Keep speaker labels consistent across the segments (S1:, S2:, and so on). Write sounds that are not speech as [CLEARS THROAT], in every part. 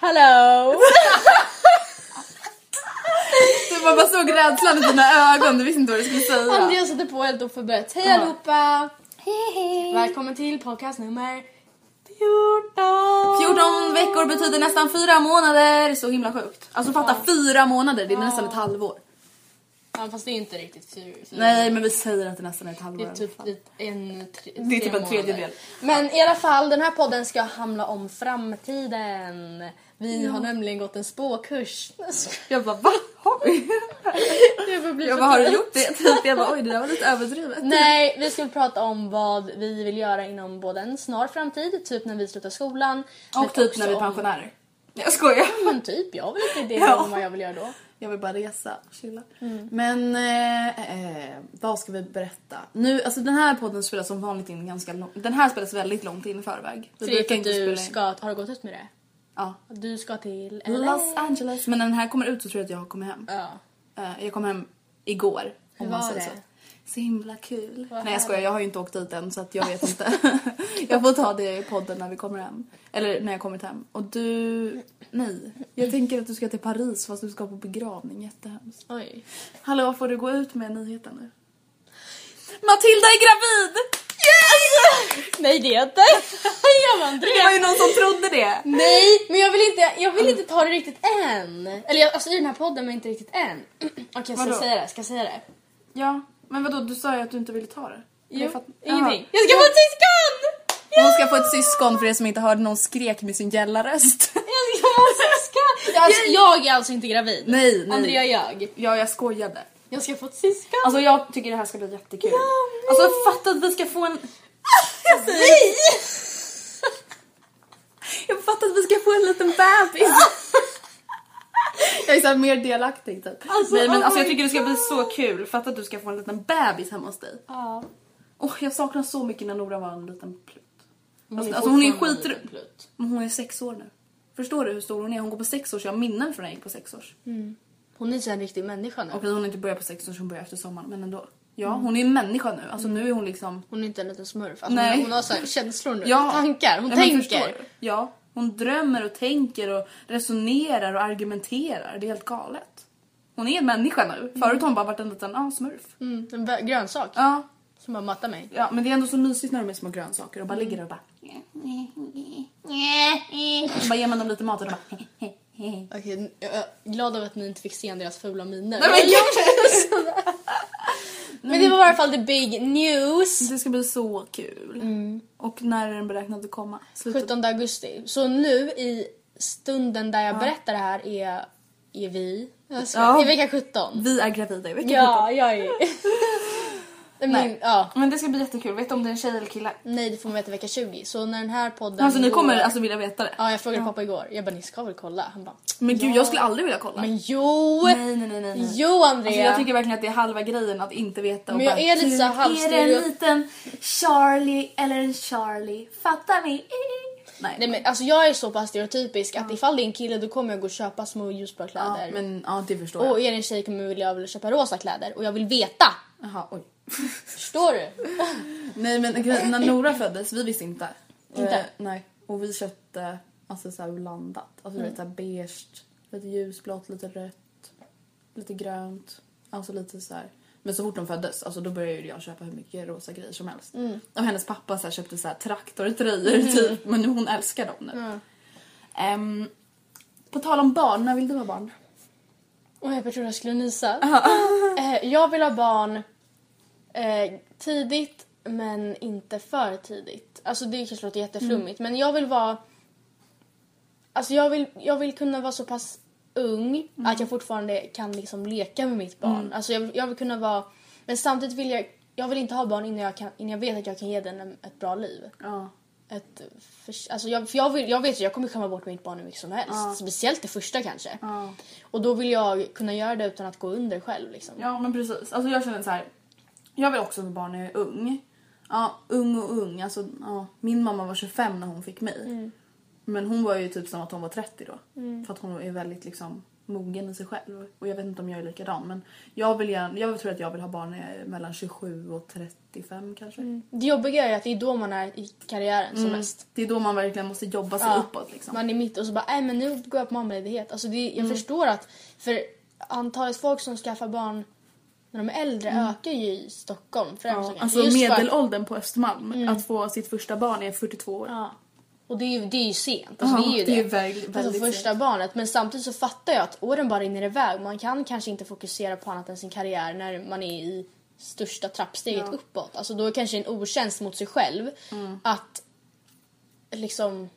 S1: Hello!
S2: [LAUGHS] Du bara, bara såg rädslan i dina ögon, du visste inte vad du skulle säga.
S1: Andrea sätter på helt oförberett. Hej allihopa! Välkommen till podcast nummer 14!
S2: 14 veckor betyder nästan fyra månader, så himla sjukt. Alltså fatta fyra månader, det är nästan ett halvår.
S1: Ja, fast det är inte riktigt fyr. fyr.
S2: Nej men vi säger att det nästan är ett halvår.
S1: Det är
S2: i alla
S1: typ
S2: fall.
S1: lite- en, tre,
S2: Det är typ
S1: tre
S2: en tredjedel.
S1: månader. Men i alla fall, den här podden ska handla om framtiden. Vi har nämligen gått en spåkurs. [LAUGHS]
S2: Jag bara va? Har vi?
S1: Jag, blir
S2: Jag
S1: så
S2: bara har du
S1: glad.
S2: gjort det? Typ. Jag bara oj det där var lite överdrivet.
S1: Nej, vi skulle prata om vad vi vill göra inom både en snar framtid, typ när vi slutar skolan. men
S2: Och typ när vi
S1: också
S2: är
S1: om-
S2: pensionärer. Nej jag skojar.
S1: Men typ, jag har väl lite idéer
S2: Ja.
S1: om vad jag vill göra då. Mm.
S2: Jag vill bara resa och chilla. Men eh, eh, vad ska vi berätta? Nu, alltså den här podden spelas som vanligt in ganska långt. Den här spelas väldigt långt in i förväg. Vi
S1: För det är
S2: brukar
S1: för att
S2: inte
S1: du
S2: spela in.
S1: ska, har du gått ut med det?
S2: Ja.
S1: Du ska till LA.
S2: Los Angeles. Men när den här kommer ut så tror jag att jag har kommit hem.
S1: Ja.
S2: Eh, jag kom hem igår. Om
S1: Hur
S2: man
S1: var
S2: säger
S1: det?
S2: så. Så himla kul. Nej jag
S1: härligt.
S2: skojar, jag har ju inte åkt dit än så att jag vet inte. [LAUGHS] jag får ta det i podden när vi kommer hem. Eller när jag kommit hem. Och du... Nej. Jag tänker att du ska till Paris fast du ska på begravning. Jättehemskt.
S1: Oj.
S2: Hallå, får du gå ut med nyheten nu? Matilda är gravid! Yes!
S1: Nej det är jag inte. [LAUGHS] jag var
S2: Det var ju
S1: Andrea.
S2: någon som trodde det.
S1: Nej men jag vill, inte, jag vill inte ta det riktigt än. Eller jag, alltså i den här podden men inte riktigt än. [CLEARS THROAT] Okej ska
S2: Vadå?
S1: jag säga det? Ska jag säga det?
S2: Ja, men vadå? Du sa ju att du inte ville ta det.
S1: Jo,
S2: Jag fatt-
S1: ingenting.
S2: Jaha.
S1: Jag ska få ett syskon!
S2: Hon ska få ett syskon för er som inte hörde någon skrek med sin gälla [LAUGHS] röst.
S1: Jag ska få ett syskon! Alltså, jag är alltså inte gravid.
S2: Nej, nej.
S1: Andrea är jag.
S2: Ja, jag skojade.
S1: Jag ska få ett syskon.
S2: Alltså jag tycker det här ska bli jättekul.
S1: Ja, nej.
S2: alltså fatta att vi ska få en...
S1: jag säger nej!
S2: [LAUGHS] Jag fattar att vi ska få en liten bebis.
S1: [LAUGHS]
S2: jag är såhär mer delaktig typ.
S1: Alltså,
S2: Nej men
S1: oh
S2: alltså jag
S1: my
S2: tycker det ska bli så kul. Fatta att du ska få en liten bebis hemma hos dig.
S1: Ja.
S2: Åh, jag saknar så mycket när Nora var en liten plutt.
S1: Hon
S2: Alltså, alltså, hon är ju
S1: fortfarande en
S2: skitru-
S1: liten plutt.
S2: Men hon är sex år nu. Förstår du hur stor hon är? Hon går på sex år så jag har minnen från när jag gick på sex år.
S1: Hon är så en riktig människa nu.
S2: Okej hon har inte börjat på sex år så hon börjar efter sommaren men ändå. Ja hon är ju en människa nu. Alltså nu är hon liksom...
S1: Hon är inte en liten smurf. Alltså,
S2: Nej.
S1: Hon, hon har så här känslor nu.
S2: Ja.
S1: Tankar. Hon
S2: Ja, men förstår
S1: tänker.
S2: du? Ja. Hon drömmer och tänker och resonerar och argumenterar. Det är helt galet. Hon är en människa nu. Förut har hon bara varit en liten ah, smurf.
S1: Mm, en bö- grönsak
S2: Ja,
S1: som bara matar mig.
S2: ja, men det är ändå så mysigt när de är små grönsaker och bara ligger där och bara...
S1: Mm.
S2: Och bara ger man dem lite mat och de
S1: [LAUGHS]
S2: bara... Nej,
S1: Okej, jag är glad över att ni inte fick se deras fula miner.
S2: men gud!
S1: men det var i alla fall the big news.
S2: Det ska bli så kul.
S1: Mm.
S2: Och när är den beräknad att komma? Slutet-
S1: 17 augusti. Så nu i stunden där jag berättar det här är, är vi. Jag ska,
S2: Ja.
S1: I vecka 17.
S2: [LAUGHS] Vi är gravida i veckan.
S1: Ja, jag är... Min, ja.
S3: Men det ska bli jättekul. Vet du om det är en tjej eller kille?
S1: Nej, det får man veta i vecka 20. Så när den här podden...
S2: Alltså ni
S1: går-
S2: kommer alltså vilja veta det.
S1: Ja, jag frågade pappa igår. Jag bara, ni ska väl kolla? Han bara,
S2: Men gud jag skulle aldrig vilja kolla.
S1: men jo!
S2: Nej, nej, nej, nej, nej.
S1: Jo, Andrea!
S2: Alltså jag tycker verkligen att det är halva grejen att inte veta. och
S1: Men jag
S2: bara, "Typ,
S1: är lite
S2: "Gud,
S1: så här
S3: Är det en
S1: halvstereo...
S3: liten Charlie eller en Charlie? Fattar ni?
S2: Nej.
S1: Nej men alltså jag är så pass stereotypisk att ifall det är en kille då kommer jag gå och köpa små ljusblå
S2: Ja,
S1: kläder.
S2: men ja det förstår
S1: Och
S2: jag.
S1: är det en tjej kommer jag vilja, vilja köpa rosa kläder och jag vill veta!
S2: Jaha oj.
S1: Förstår du?
S2: Nej men grejen- när Nora föddes, vi visste inte.
S1: Inte?
S2: Eh, nej. Och vi köpte alltså såhär blandat. Alltså du vet såhär beige, lite ljusblått, lite rött, lite grönt. Alltså lite så här. Men så fort hon föddes, alltså då började ju jag köpa hur mycket rosa grejer som helst. Och hennes pappa så här, köpte så här traktortröjor typ. Men hon älskar dem nu. Ehm, på tal om barn, när vill du ha barn?
S1: Och jag trodde jag skulle nysa. [LAUGHS] eh, jag vill ha barn eh, tidigt men inte för tidigt. Alltså det kanske låter jätteflummigt men jag vill vara... Alltså jag vill, jag vill kunna vara så pass ung att jag fortfarande kan liksom leka med mitt barn. Alltså jag, vill- jag vill kunna vara... Men samtidigt vill jag... Jag vill inte ha barn innan jag, kan, innan jag vet att jag kan ge den en- ett bra liv.
S2: Ja.
S1: Ett, för, alltså jag, för jag, vill, jag vet ju jag kommer skämma bort mitt barn hur mycket som helst. Speciellt det första kanske. Och då vill jag kunna göra det utan att gå under själv. Liksom.
S2: Ja men precis. Alltså jag känner så här. Jag vill också få barn när jag är ung. Ja, ung och ung. Alltså, ja, min mamma var 25 när hon fick mig.
S1: Mm.
S2: Men hon var ju typ som att hon var 30 då. För att hon är väldigt liksom mogen i sig själv. Och jag vet inte om jag är likadan men jag vill gärna, jag tror att jag vill ha barn när jag är mellan 27 och 35 kanske.
S1: Det jobbiga är att det är då man är i karriären
S2: Mm.
S1: som mest.
S2: Det är då man verkligen måste jobba sig uppåt liksom.
S1: Man är mitt och så bara, nej men nu går jag på mammaledighet. Alltså det,
S2: Mm.
S1: jag förstår att, för antalet folk som skaffar barn när de är äldre ökar ju i Stockholm främst.
S2: Mm. Ja,
S1: kanske.
S2: alltså
S1: Just för- Mm.
S2: medelåldern på Östermalm, att få sitt första barn är 42 år.
S1: Ja. Och det är ju, det är ju sent. Alltså,
S2: Ja,
S1: det är ju
S2: det
S1: det.
S2: är väldigt-
S1: alltså,
S2: väldigt
S1: första barnet. Men samtidigt så fattar jag att åren bara rinner iväg. Man kan kanske inte fokusera på annat än sin karriär när man är i största trappsteget uppåt. Alltså då är det kanske en otjänst mot sig själv
S2: Mm.
S1: att liksom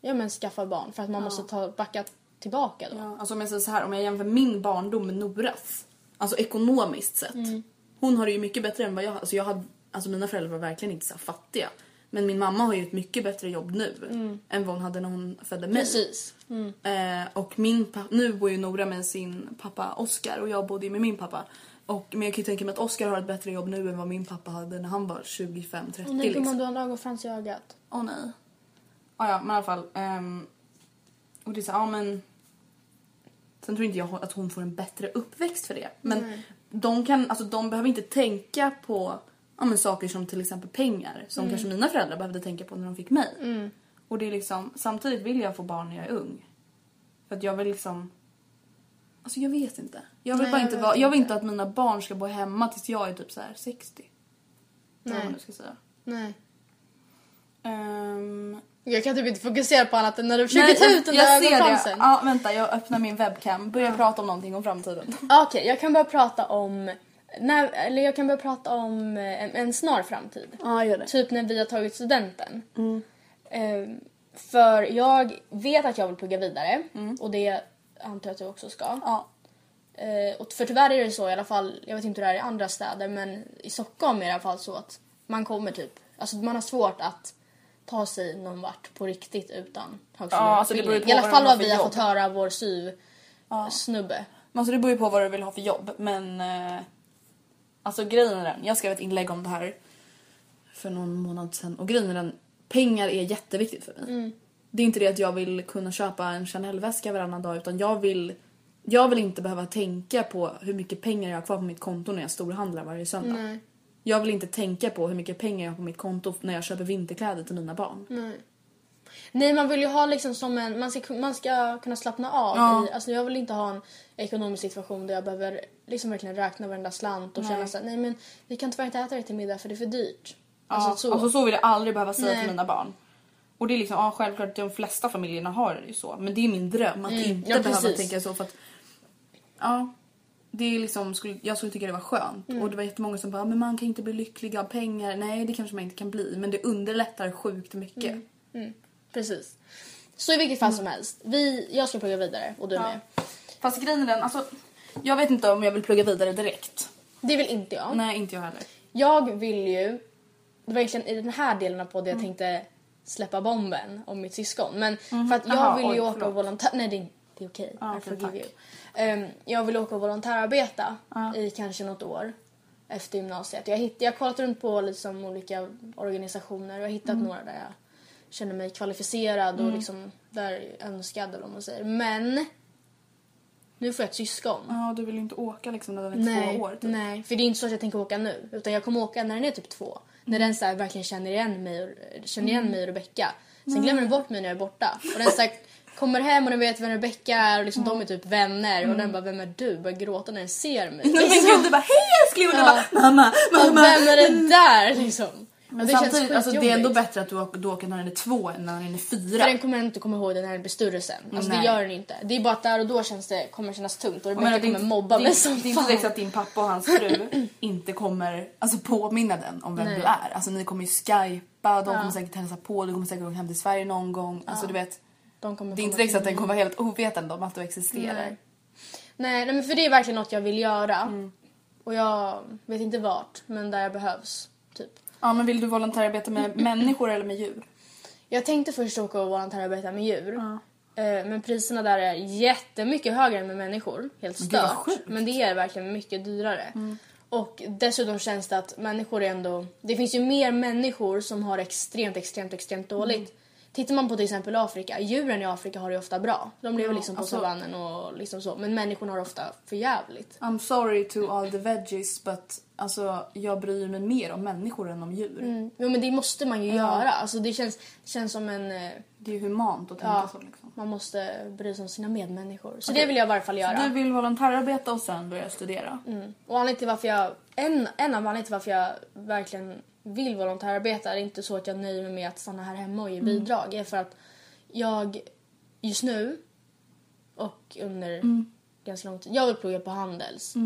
S1: ja, men skaffa barn för att man måste ta, backa tillbaka då.
S2: Ja, alltså om jag säger så här, om jag jämför min barndom med Noras, alltså ekonomiskt sett.
S1: Mm.
S2: Hon har det ju mycket bättre än vad jag har. Alltså, jag hade, alltså mina föräldrar var verkligen inte så här fattiga. Men min mamma har ju ett mycket bättre jobb nu än vad hon hade när hon födde mig.
S1: Mm. Precis.
S2: Eh, och min pa- nu bor ju Nora med sin pappa Oscar och jag bodde ju med min pappa. Och, men jag kan ju tänka mig att Oscar har ett bättre jobb nu än vad min pappa hade när han var 25-30
S1: Och nu
S2: liksom.
S1: gumman, du har en ögonfrans i ögat.
S2: Åh nej. Ah, ja, men i alla fall. ehm, och det är så, ja men. Sen tror inte jag att hon får en bättre uppväxt för det. Men de, kan, alltså, de behöver inte tänka på ja, men, saker som till exempel pengar.
S1: Mm.
S2: Som kanske mina föräldrar behövde tänka på när de fick mig. Och det är liksom, samtidigt vill jag få barn när jag är ung. För att jag vill liksom... Alltså jag vet inte. Jag vill
S1: Nej,
S2: bara
S1: jag
S2: inte
S1: vet
S2: vara, jag vill
S1: inte.
S2: inte att mina barn ska bo hemma tills jag är typ så här 60. Nej. Vad man nu ska säga.
S1: Nej.
S2: Ehm,
S1: Jag kan typ inte fokusera på annat än när du försöker ta
S2: jag-
S1: ut den
S2: jag
S1: där
S2: ser det.
S1: ögonfransen.
S2: Ja, vänta, jag öppnar min webcam. Börjar prata om någonting om framtiden.
S1: Okej, jag kan börja prata om... När, eller jag kan börja prata om eh, en, en snar framtid.
S2: Ja, gör det.
S1: Typ när vi har tagit studenten. Ehm, för jag vet att jag vill plugga vidare och det antar jag att jag också ska.
S2: Ja.
S1: Eh, och för tyvärr är det så i alla fall, jag vet inte hur det är i andra städer men i Stockholm är det i alla fall så att man kommer typ, alltså man har svårt att ta sig någon vart på riktigt utan högskoleutbildning.
S2: alltså det beror ju på
S1: I alla
S2: vad
S1: fall
S2: man har
S1: vad
S2: för
S1: vi har
S2: jobb.
S1: fått höra av vår SYV-snubbe.
S2: Alltså det beror ju på vad du vill ha för jobb, men... Eh, alltså grejen är den, jag skrev ett inlägg om det här för någon månad sedan och grejen är den, pengar är jätteviktigt för mig.
S1: Mm.
S2: Det är inte det att jag vill kunna köpa en Chanel-väska varannan dag utan jag vill jag vill inte behöva tänka på hur mycket pengar jag har kvar på mitt konto när jag storhandlar varje söndag. Jag vill inte tänka på hur mycket pengar jag har på mitt konto när jag köper vinterkläder till mina barn.
S1: Nej man vill ju ha liksom som en, man ska, man ska kunna slappna av
S2: Ja.
S1: i, alltså jag vill inte ha en ekonomisk situation där jag behöver liksom verkligen räkna varenda slant och känna såhär, nej men vi kan tyvärr inte äta det till middag för det är för dyrt. Alltså
S2: ja,
S1: så.
S2: alltså så vill jag aldrig behöva säga
S1: Nej.
S2: till mina barn. Och det är liksom, ja självklart att de flesta familjerna har det ju så. Men det är min dröm att inte
S1: Mm, ja,
S2: behöva
S1: precis.
S2: tänka så för att... Ja. Det är liksom, skulle, jag skulle tycka det var skönt.
S1: Mm.
S2: Och det var jättemånga som bara, men man kan inte bli lycklig av pengar. Nej det kanske man inte kan bli. Men det underlättar sjukt mycket.
S1: Mm. Precis. Så i vilket fall
S2: Mm.
S1: som helst, vi, jag ska plugga vidare och du med.
S2: Fast grejen är den, alltså. Jag vet inte om jag vill plugga vidare direkt.
S1: Det vill inte jag.
S2: Nej inte jag heller.
S1: Jag vill ju... Det var egentligen i den här delen av
S2: Mm.
S1: podden jag tänkte släppa bomben om mitt syskon. Men för att jag
S2: Mm. Aha,
S1: vill ju
S2: oj,
S1: åka och
S2: förlåt.
S1: volontär... Nej, det är, det är okej.
S2: Ja,
S1: I
S2: okej,
S1: forgive
S2: tack. Ah.
S1: you. Ehm, jag vill åka och volontärarbeta
S2: Ja.
S1: i kanske något år efter gymnasiet. Jag, hitt, jag har kollat runt på liksom olika organisationer och jag har hittat
S2: Mm.
S1: några där jag känner mig kvalificerad och liksom där önskad eller vad man säger. Men nu får jag ett syskon.
S2: Ja, du vill ju inte åka liksom när den är
S1: Nej,
S2: två år. Typ.
S1: nej, för det är inte så att jag tänker åka nu. Utan jag kommer åka när den är typ två. När
S2: Mm.
S1: den så här verkligen känner igen mig och, känner igen mig och Rebecka. Sen glömmer den bort mig när jag är borta. Och den så här, kommer hem och den vet vem Rebecka är och liksom
S2: Mm.
S1: de är typ vänner. Och den bara, vem är du? Börjar gråta när den ser mig.
S2: [LAUGHS]
S1: Liksom.
S2: Nej, [LAUGHS] men gud, du bara hej älskling och du
S1: Ja.
S2: bara mamma,
S1: och
S2: mamma.
S1: vem är det där liksom?
S2: Men
S1: Och det
S2: samtidigt, alltså, det är ändå
S1: skitjobbigt.
S2: bättre att du åker, du åker när den är två än när den är fyra.
S1: För den kommer inte komma ihåg det när den blir större sen. Alltså det
S2: Nej.
S1: gör den inte. Det är bara att där och då känns det, kommer det kännas tungt och
S2: Jag menar,
S1: Rebecka
S2: det är
S1: kommer
S2: inte-
S1: mobba
S2: det är-
S1: mig som
S2: Det är inte
S1: fan.
S2: direkt att din pappa och hans fru
S1: [CLEARS THROAT]
S2: inte kommer alltså, påminna den om vem
S1: Nej.
S2: du är. Alltså ni kommer ju skypa, de kommer säkert hälsa på, du kommer säkert åka hem till Sverige någon gång. Alltså du vet,
S1: De kommer
S2: det är inte
S1: komma
S2: direkt
S1: till
S2: att den kommer vara helt ovetande om att du existerar.
S1: Nej. Nej, nej, men för det är verkligen något jag vill göra.
S2: Mm.
S1: Och jag vet inte vart, men där jag behövs. Typ.
S2: Ja men vill du
S1: [CLEARS THROAT]
S2: volontärarbeta med människor eller med djur?
S1: Jag tänkte först åka och volontärarbeta med djur. Eh, Men priserna där är jättemycket högre än med människor. Helt
S2: Men gud, vad
S1: stört.
S2: sjukt. Mm.
S1: Men det är verkligen mycket dyrare. Och dessutom känns det att människor är ändå... Det finns ju mer människor som har extremt, extremt, extremt dåligt.
S2: Mm.
S1: Tittar man på till exempel Afrika, djuren i Afrika har det ofta bra. De lever liksom på
S2: alltså-
S1: savannen och liksom så. Men människorna har det ofta för jävligt.
S2: I'm sorry to all the veggies but alltså jag bryr mig mer om människor än om djur.
S1: Jo men det måste man ju göra. Alltså det känns, känns som en... eh,
S2: Det är ju humant att tänka
S1: Ja,
S2: så liksom.
S1: man måste bry sig om sina medmänniskor. Så det vill jag i varje fall göra.
S2: Du vill volontärarbeta och sen börja studera?
S1: Och anledningen till varför jag... En, en av anledningarna till varför jag verkligen vill volontärarbeta är inte så att jag nöjer mig med att stanna här hemma och ge bidrag. är för att jag just nu och under ganska lång tid... Jag vill plugga på Handels.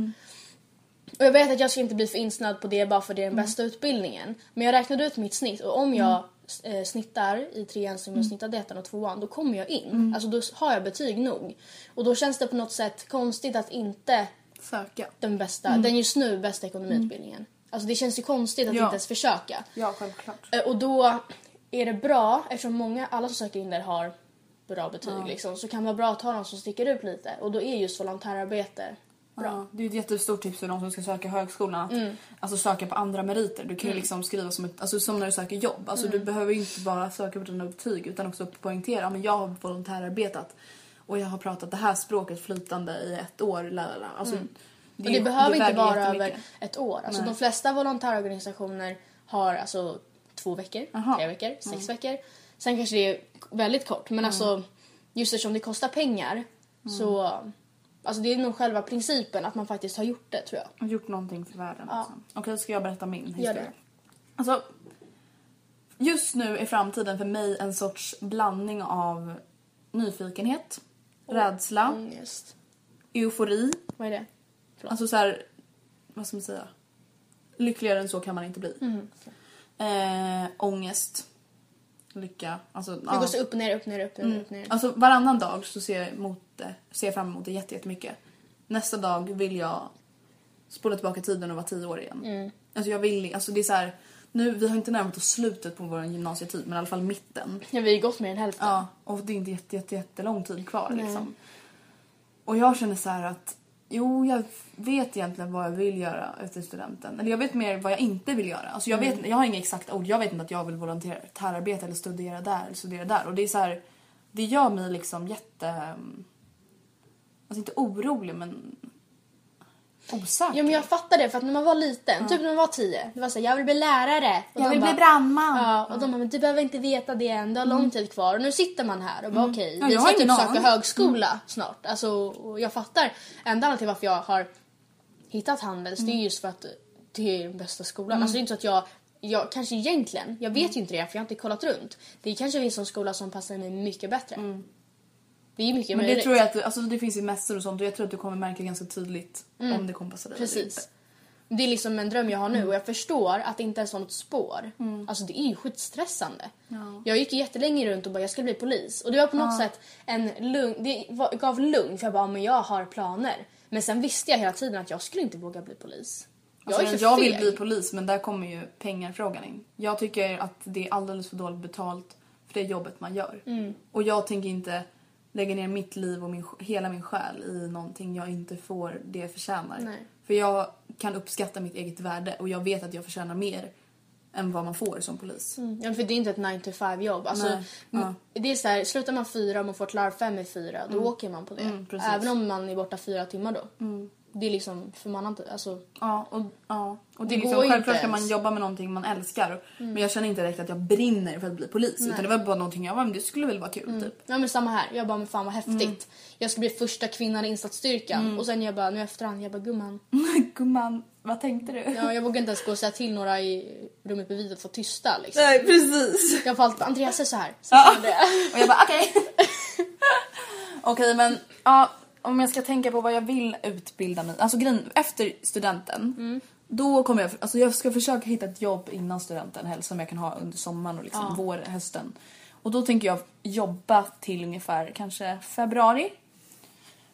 S1: Och jag vet att jag ska inte bli för insnöad på det bara för det är den bästa utbildningen. Men jag räknade ut mitt snitt och om jag eh, snittar i trean som jag snittade i ettan och tvåan då kommer jag in. Alltså då har jag betyg nog. Och då känns det på något sätt konstigt att inte
S2: Söka.
S1: den bästa,
S2: Mm.
S1: den just nu bästa ekonomiutbildningen. Alltså det känns ju konstigt att
S2: Ja.
S1: inte ens försöka.
S2: Ja, självklart.
S1: Eh, Och då är det bra, eftersom många, alla som söker in där har bra betyg liksom, så kan det vara bra att ha någon som sticker ut lite. Och då är just volontärarbete bra. Mm.
S2: Ja, det är ett jättestort tips för de som ska söka högskolan. Att, Alltså söka på andra meriter. Du kan ju liksom skriva som, ett, alltså, som när du söker jobb. Alltså,
S1: Mm.
S2: Du behöver ju inte bara söka på dina betyg utan också poängtera "Ja, men jag har volontärarbetat och jag har pratat det här språket flytande i ett år. Lalala. Alltså,
S1: Och Mm. det
S2: ju-
S1: behöver inte
S2: väger
S1: vara
S2: jättemycket.
S1: över ett år. Alltså
S2: Nej.
S1: de flesta volontärorganisationer har alltså två veckor,
S2: Aha.
S1: tre veckor, sex veckor. Sen kanske det är väldigt kort men alltså just eftersom det kostar pengar så alltså det är nog själva principen att man faktiskt har gjort det tror jag.
S2: och gjort någonting för världen.
S1: Ja.
S2: Liksom. Okej, ska jag berätta min historia?
S1: det.
S2: Alltså, just nu är framtiden för mig en sorts blandning av nyfikenhet, rädsla,
S1: Ångest.
S2: eufori.
S1: Vad är det?
S2: Alltså så här, vad ska man säga? Lyckligare än så kan man inte bli.
S1: Mm.
S2: Eh, ångest, lycka. Alltså,
S1: Det går så upp och ner, upp och ner, upp och ner. Upp och ner.
S2: Alltså varannan dag så ser jag, emot det, ser jag fram emot det jätte- jättemycket. Nästa dag vill jag spola tillbaka tiden och vara tio år igen. Alltså jag vill alltså det är så här, nu, vi har inte närmat oss slutet på vår gymnasietid men i alla fall mitten.
S1: Ja, vi har ju gått mer än hälften.
S2: Ja, och det är inte jätte, jätte, jättelång tid kvar liksom. Och jag känner så här att jo, jag vet egentligen vad jag vill göra efter studenten. Eller jag vet mer vad jag inte vill göra. Alltså jag,
S1: Mm.
S2: vet, jag har inga exakta ord. Jag vet inte att jag vill volontärarbeta eller studera där eller studera där. Och det är så här, det gör mig liksom jätte... Alltså inte orolig men osäker.
S1: Ja men jag fattar det för att när man var liten, typ när man var tio, det var såhär jag vill bli lärare. Och
S2: Jag
S1: de
S2: vill bli brandman.
S1: Ja, och de bara men du behöver inte veta det än, du har lång tid kvar. Och nu sitter man här och bara okej,
S2: Mm. Ja,
S1: vi
S2: jag
S1: ska
S2: har
S1: typ
S2: ingen
S1: söka
S2: aning. Mm.
S1: högskola snart. Alltså och jag fattar. Enda anledningen till varför jag har hittat Handels
S2: Mm.
S1: det är just för att det är den bästa skolan. Alltså det är inte så att jag jag, kanske egentligen, jag
S2: Mm.
S1: vet ju inte det för jag har inte kollat runt. Det kanske finns en skola som passar mig mycket bättre. Det är mycket
S2: Mm. Men det
S1: möjligt.
S2: tror jag att du, alltså det finns ju mässor och sånt och jag tror att du kommer märka ganska tydligt om det kommer passa dig eller inte.
S1: Mm. Precis. Det är liksom en dröm jag har nu
S2: Mm.
S1: och jag förstår att det inte är ett sånt spår. Alltså det är ju skitstressande. Jag gick ju jättelänge runt och bara jag skulle bli polis. Och det var på något sätt en lugn, det var, gav lugn för jag bara "Ja, men jag har planer. Men sen visste jag hela tiden att jag skulle inte våga bli polis.
S2: Alltså,
S1: är
S2: jag,
S1: så
S2: jag vill
S1: feg.
S2: bli polis men där kommer ju pengarfrågan in. Jag tycker att det är alldeles för dåligt betalt för det jobbet man gör.
S1: Mm.
S2: Och jag tänker inte lägga ner mitt liv och min, sj- hela min själ i någonting jag inte får det jag förtjänar.
S1: Nej.
S2: För jag kan uppskatta mitt eget värde och jag vet att jag förtjänar mer än vad man får som polis.
S1: Ja, för det är inte ett 9 to 5 jobb. Alltså,
S2: Nej, ja. Mm.
S1: m- Det är så här, slutar man fyra och man får klara fem i fyra, då åker man på det.
S2: precis. Mm.
S1: Även om man är borta fyra timmar då. Det är liksom, för man har inte, alltså,
S2: Ja, och, ja. och det,
S1: Det
S2: är liksom,
S1: går ju
S2: självklart
S1: inte
S2: ska man
S1: ens. Mm.
S2: jobba med någonting man älskar. Men jag känner inte direkt att jag brinner för att bli polis. Utan det var bara någonting jag var, men det skulle väl vara kul typ. [LAUGHS]
S1: Ja men samma här. Jag bara, men fan vad häftigt.
S2: Mm.
S1: Jag ska bli första kvinnan i insatsstyrkan. Och sen jag bara, nu i efterhand, jag bara gumman.
S2: Mm. Gumman, vad tänkte du?
S1: Ja, jag vågar inte ens gå och säga till några i rummet bredvid att vara tysta liksom.
S2: Nej, precis.
S1: Jag får alltid, Andreas är så här. Så
S2: Ja.
S1: sa det.
S2: Och jag bara [LAUGHS] okej. okej men ja, om jag ska tänka på vad jag vill utbilda mig Alltså grejen, efter studenten. Då kommer jag, alltså jag ska försöka hitta ett jobb innan studenten helst som jag kan ha under sommaren och liksom vår, hösten. Och då tänker jag jobba till ungefär kanske februari.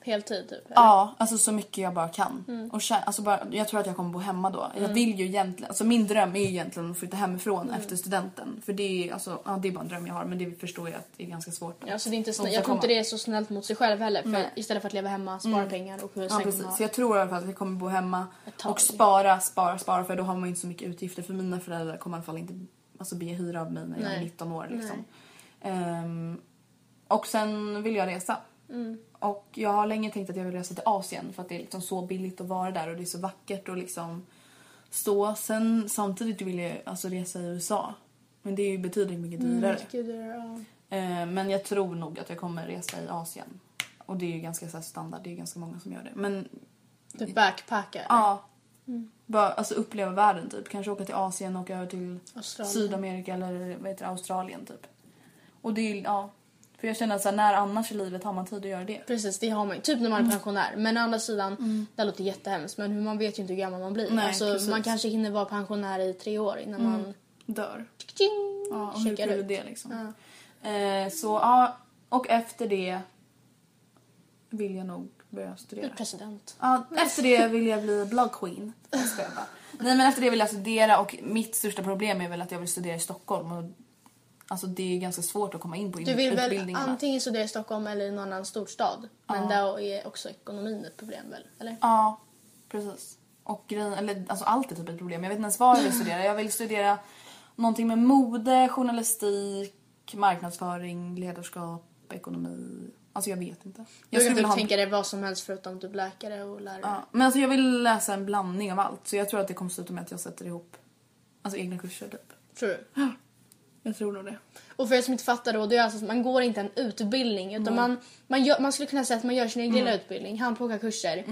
S1: Heltid typ. eller?
S2: Ja, alltså så mycket jag bara kan.
S1: Mm.
S2: Och kä- alltså bara, jag tror att jag kommer bo hemma då. Jag vill ju egentligen, alltså min dröm är ju egentligen att flytta hemifrån
S1: Mm.
S2: efter studenten. För det är, alltså, ja, det är bara en dröm jag har men det förstår jag att det är ganska svårt.
S1: Ja, så Alltså, det är inte snä-
S2: Att
S1: jag tror inte
S2: komma.
S1: det är så snällt mot sig själv heller. För
S2: Nej. Mm.
S1: Istället för att leva hemma, spara pengar och sen
S2: Ja,
S1: kommer
S2: precis.
S1: man-
S2: Så jag tror i alla fall att jag kommer bo hemma
S1: Ett tag.
S2: och spara, spara, spara för då har man inte så mycket utgifter. För mina föräldrar kommer i alla fall inte alltså, be hyra av mig när jag är
S1: Nej.
S2: 19 år. Liksom. Ehm, och sen vill jag resa.
S1: Mm.
S2: Och jag har länge tänkt att jag vill resa till Asien för att det är liksom så billigt att vara där och det är så vackert och liksom så. Sen samtidigt vill jag alltså resa i USA. Men det är ju betydligt mycket
S1: Mm,
S2: dyrare.
S1: Gud, det är- ja.
S2: Eh, Men jag tror nog att jag kommer resa i Asien. Och det är ju ganska så här standard, det är ju ganska många som gör det. Men
S1: Typ backpacka. eller?
S2: ja,
S1: Mm.
S2: bara alltså uppleva världen typ. Kanske åka till Asien och åka över till
S1: Australien.
S2: Sydamerika eller vad heter det, Australien typ. Och det är ju, ja. För jag känner så här, när annars i livet har man tid att göra det?
S1: Precis, det har man ju. Typ när
S2: Mm.
S1: man är pensionär. Men å andra sidan, det här låter jättehemskt men hur- man vet ju inte hur gammal man blir.
S2: Nej,
S1: alltså,
S2: precis. Mm.
S1: man kanske hinner vara pensionär i tre år innan man
S2: Dör.
S1: tjing,
S2: Ja, och hur
S1: checkar
S2: kul är
S1: ut.
S2: det liksom? Eh, så ja, och efter det vill jag nog börja studera.
S1: Bli president.
S2: Ja, efter det vill jag bli blog queen. Jag skojar bara. Nej men efter det vill jag studera och mitt största problem är väl att jag vill studera i Stockholm. Och, alltså det är ganska svårt att komma in på
S1: Du vill väl
S2: utbildningarna.
S1: antingen studera i Stockholm eller i någon annan storstad. Men där är också ekonomin ett problem väl? Eller?
S2: Ja, precis. Och grejen, eller alltså allt är typ ett problem. Jag vet inte ens vad jag vill studera. Jag vill studera någonting med mode, journalistik, marknadsföring, ledarskap, ekonomi. Alltså jag vet inte.
S1: Jag
S2: Jag
S1: du kan
S2: vilja
S1: typ
S2: ha-
S1: tänka dig vad som helst förutom typ läkare och lärare.
S2: Ja, men alltså jag vill läsa en blandning av allt. Så jag tror att det kommer sluta med att jag sätter ihop alltså egna kurser typ.
S1: Tror du?
S2: Jag tror nog det.
S1: Och för er som inte fattar då, det är alltså att man går inte en utbildning utan man, man, gör, man skulle kunna säga att man gör sin egen
S2: Mm.
S1: lilla utbildning, handplocka kurser.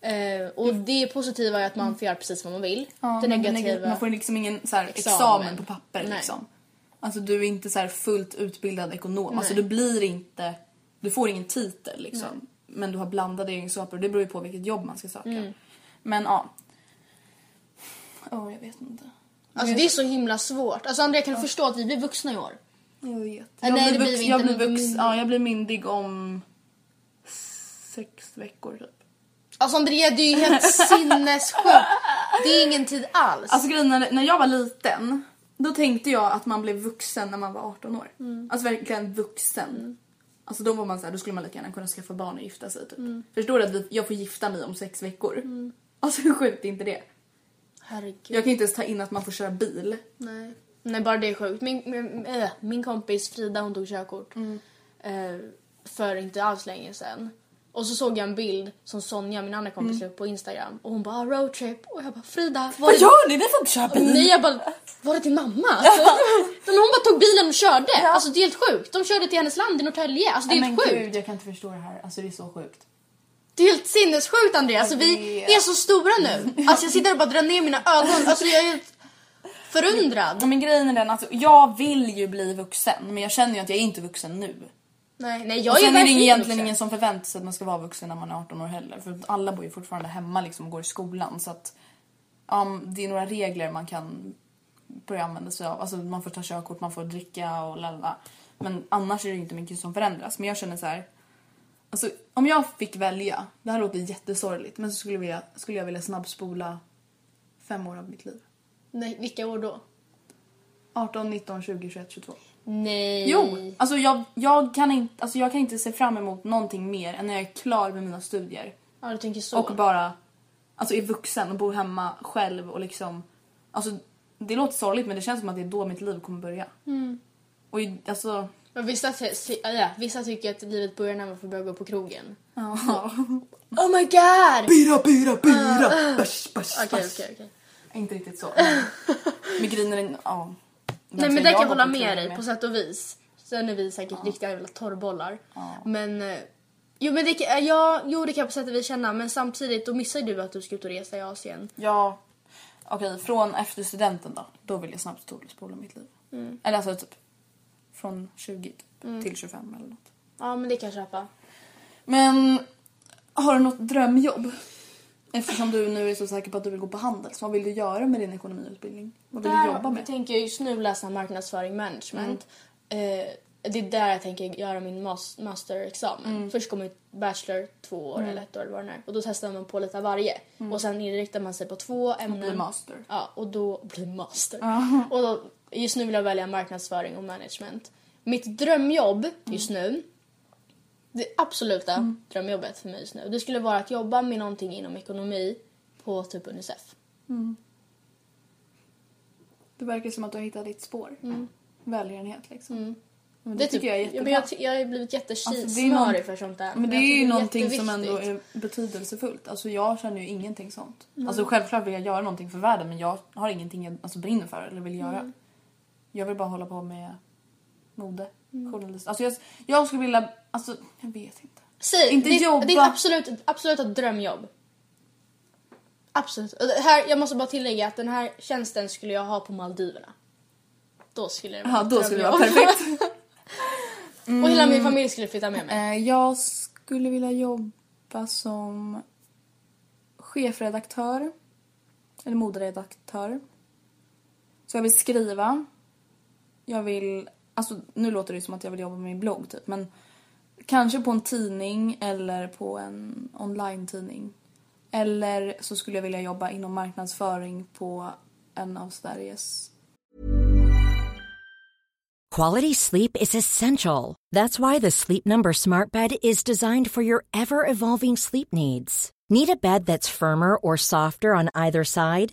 S1: Eh, och det positiva är att man får göra precis vad man vill. det
S2: men den
S1: negativa...
S2: neg- Man får liksom ingen så här, examen.
S1: Examen.
S2: på papper
S1: Nej.
S2: liksom. Alltså du är inte så här fullt utbildad ekonom. Alltså du
S1: Nej.
S2: blir inte, du får ingen titel liksom. Men du har blandade egenskaper och det beror ju på vilket jobb man ska söka.
S1: Mm.
S2: Men ja. Åh jag vet inte.
S1: Alltså det är så himla svårt. Alltså Andrea kan du förstå att vi blir vuxna i år?
S2: Jag vet.
S1: Ja,
S2: Jag
S1: nej,
S2: blir
S1: det blir
S2: vux-
S1: vi
S2: jag
S1: inte,
S2: blir
S1: men vi
S2: vux-
S1: blir-
S2: Ja jag blir myndig om sex veckor typ.
S1: Alltså Andrea det är ju helt sinnessjukt. Det är ingen tid alls.
S2: Alltså grejen när, när jag var liten, då tänkte jag att man blev vuxen när man var 18 år. Alltså verkligen vuxen. Alltså då var man så här, då skulle man lika gärna kunna skaffa barn och gifta sig typ. Förstår du att vi, jag får gifta mig om sex veckor? Alltså hur sjukt är inte det?
S1: Herregud.
S2: Jag kan inte ens ta in att man får köra bil.
S1: Nej. Nej, bara det är sjukt. Min, min, äh, min kompis Frida hon tog körkort
S2: Mm.
S1: eh, för inte alls länge sedan. Och så såg jag en bild som Sonja, min andra kompis, la upp på Instagram. Och hon bara "Ah, roadtrip. Och jag bara Frida, var
S2: Mm. Vad
S1: det...
S2: gör ni? Vi får inte köra
S1: Och
S2: bil!
S1: Nej, jag bara, var det till mamma? Alltså, [LAUGHS] men hon bara tog bilen och körde. Alltså det är helt sjukt. De körde till hennes land i Norrtälje. Alltså det är helt sjukt.
S2: jag kan inte förstå det här. Alltså det är så sjukt.
S1: Det är helt sinnessjukt Andreas. Alltså, vi
S2: vet.
S1: är så stora nu. Alltså jag sitter och bara drar ner mina ögon. Alltså jag är helt
S2: Ja,
S1: förundrad.
S2: men grejen är den, alltså, jag vill ju bli vuxen men jag känner ju att jag är inte vuxen nu.
S1: Nej, nej
S2: Och
S1: jag är
S2: sen är det
S1: verkligen
S2: egentligen
S1: vuxen.
S2: ingen som förväntar sig att man ska vara vuxen när man är 18 år heller. För att alla bor ju fortfarande hemma liksom, och går i skolan. Så att ja, det är några regler man kan börja använda sig av. Alltså man får ta körkort, man får dricka och lalala. Men annars är det ju inte mycket som förändras. Men jag känner så här. Alltså om jag fick välja, det här låter jättesorgligt, men så skulle jag vilja, skulle jag vilja snabbspola fem år av mitt liv.
S1: Nej, vilka år då?
S2: 18, 19, 20, 21, 22.
S1: Nej.
S2: Jo! Alltså jag, jag, kan inte, alltså jag kan inte se fram emot någonting mer än när jag är klar med mina studier.
S1: Ja, du tänker så.
S2: Och bara alltså, är vuxen och bor hemma själv och liksom... Alltså, det låter sorgligt men det känns som att det är då mitt liv kommer börja.
S1: Mm.
S2: Och i- alltså...
S1: Men vissa, ty- ty- ja, ja, vissa tycker att livet börjar när man får börja gå på krogen.
S2: Ja.
S1: [LAUGHS] Oh my god!
S2: Bira, bira, bira! Bärs, bärs,
S1: Ah. Okej,
S2: bärs.
S1: okej, okej.
S2: Inte
S1: [LAUGHS]
S2: riktigt så. men- Men grejen är... Ja.
S1: Nej men
S2: alltså,
S1: där kan
S2: går
S1: jag hålla
S2: på
S1: med
S2: krogen
S1: dig på sätt och vis. Sen är vi säkert riktiga jävla torrbollar. Men... eh, Jo, men det, kan- eh, ja, jo det kan jag på sätt och vis känna men samtidigt då missar du att du ska ut och resa i Asien.
S2: Ja. Okej, från efter studenten då. Då vill jag snabbt spola mitt liv.
S1: Mm.
S2: Eller alltså typ från 20 typ, till 25 eller något.
S1: Ja men det kan jag köpa.
S2: Men har du något drömjobb? Eftersom du nu är så säker på att du vill gå på Handels. Vad vill du göra med din ekonomiutbildning? Vad vill du jobba
S1: Där
S2: med?
S1: tänker jag just nu läsa marknadsföring management.
S2: Mm.
S1: Eh, det är där jag tänker göra min mas- masterexamen.
S2: Mm.
S1: Först kommer bachelor två år eller ett år eller vad det nu är. Och då testar man på lite av varje. Och sen inriktar man sig på två ämnen.
S2: blir Mm. master.
S1: Ja, och då blir master. Och då, just nu vill jag välja marknadsföring och management. Mitt drömjobb
S2: Mm.
S1: just nu, det absoluta drömjobbet för mig just nu, det skulle vara att jobba med någonting inom ekonomi på typ Unicef.
S2: Det verkar som att du har hittat ditt spår. Välgörenhet liksom. Men
S1: Mm. Det,
S2: det, tycker jag är
S1: typ, ja,
S2: jättebra.
S1: men jag, ty- jag har blivit jättesmörig
S2: Alltså, det är någon-
S1: för sånt där.
S2: Men det
S1: jag tycker
S2: är ju någonting som
S1: jätteviktigt.
S2: ändå är betydelsefullt. Alltså jag känner ju ingenting sånt. Alltså självklart vill jag göra någonting för världen men jag har ingenting jag alltså, brinner för eller vill göra.
S1: Mm.
S2: Jag vill bara hålla på med mode,
S1: Mm.
S2: journalist. Alltså jag, jag skulle vilja, alltså jag vet inte.
S1: Säg,
S2: inte
S1: ditt,
S2: jobba.
S1: ditt absolut, absoluta drömjobb. Absolut. Och det Här, jag måste bara tillägga att den här tjänsten skulle jag ha på Maldiverna. Då skulle det vara
S2: Ja,
S1: ett
S2: då skulle jag vara
S1: drömjobb.
S2: perfekt.
S1: [LAUGHS] Och hela min familj skulle flytta med mig.
S2: Eh, jag skulle vilja jobba som chefredaktör. Eller moderedaktör. Så jag vill skriva. Jag vill... Alltså nu låter det som att jag vill jobba med min blogg typ men kanske på en tidning eller på en online-tidning. Eller så skulle jag vilja jobba inom marknadsföring på en av Sveriges
S4: Quality sleep is essential. That's why the Sleep Number Smart Bed is designed for your ever evolving sleep needs. Need a bed that's firmer or softer on either side?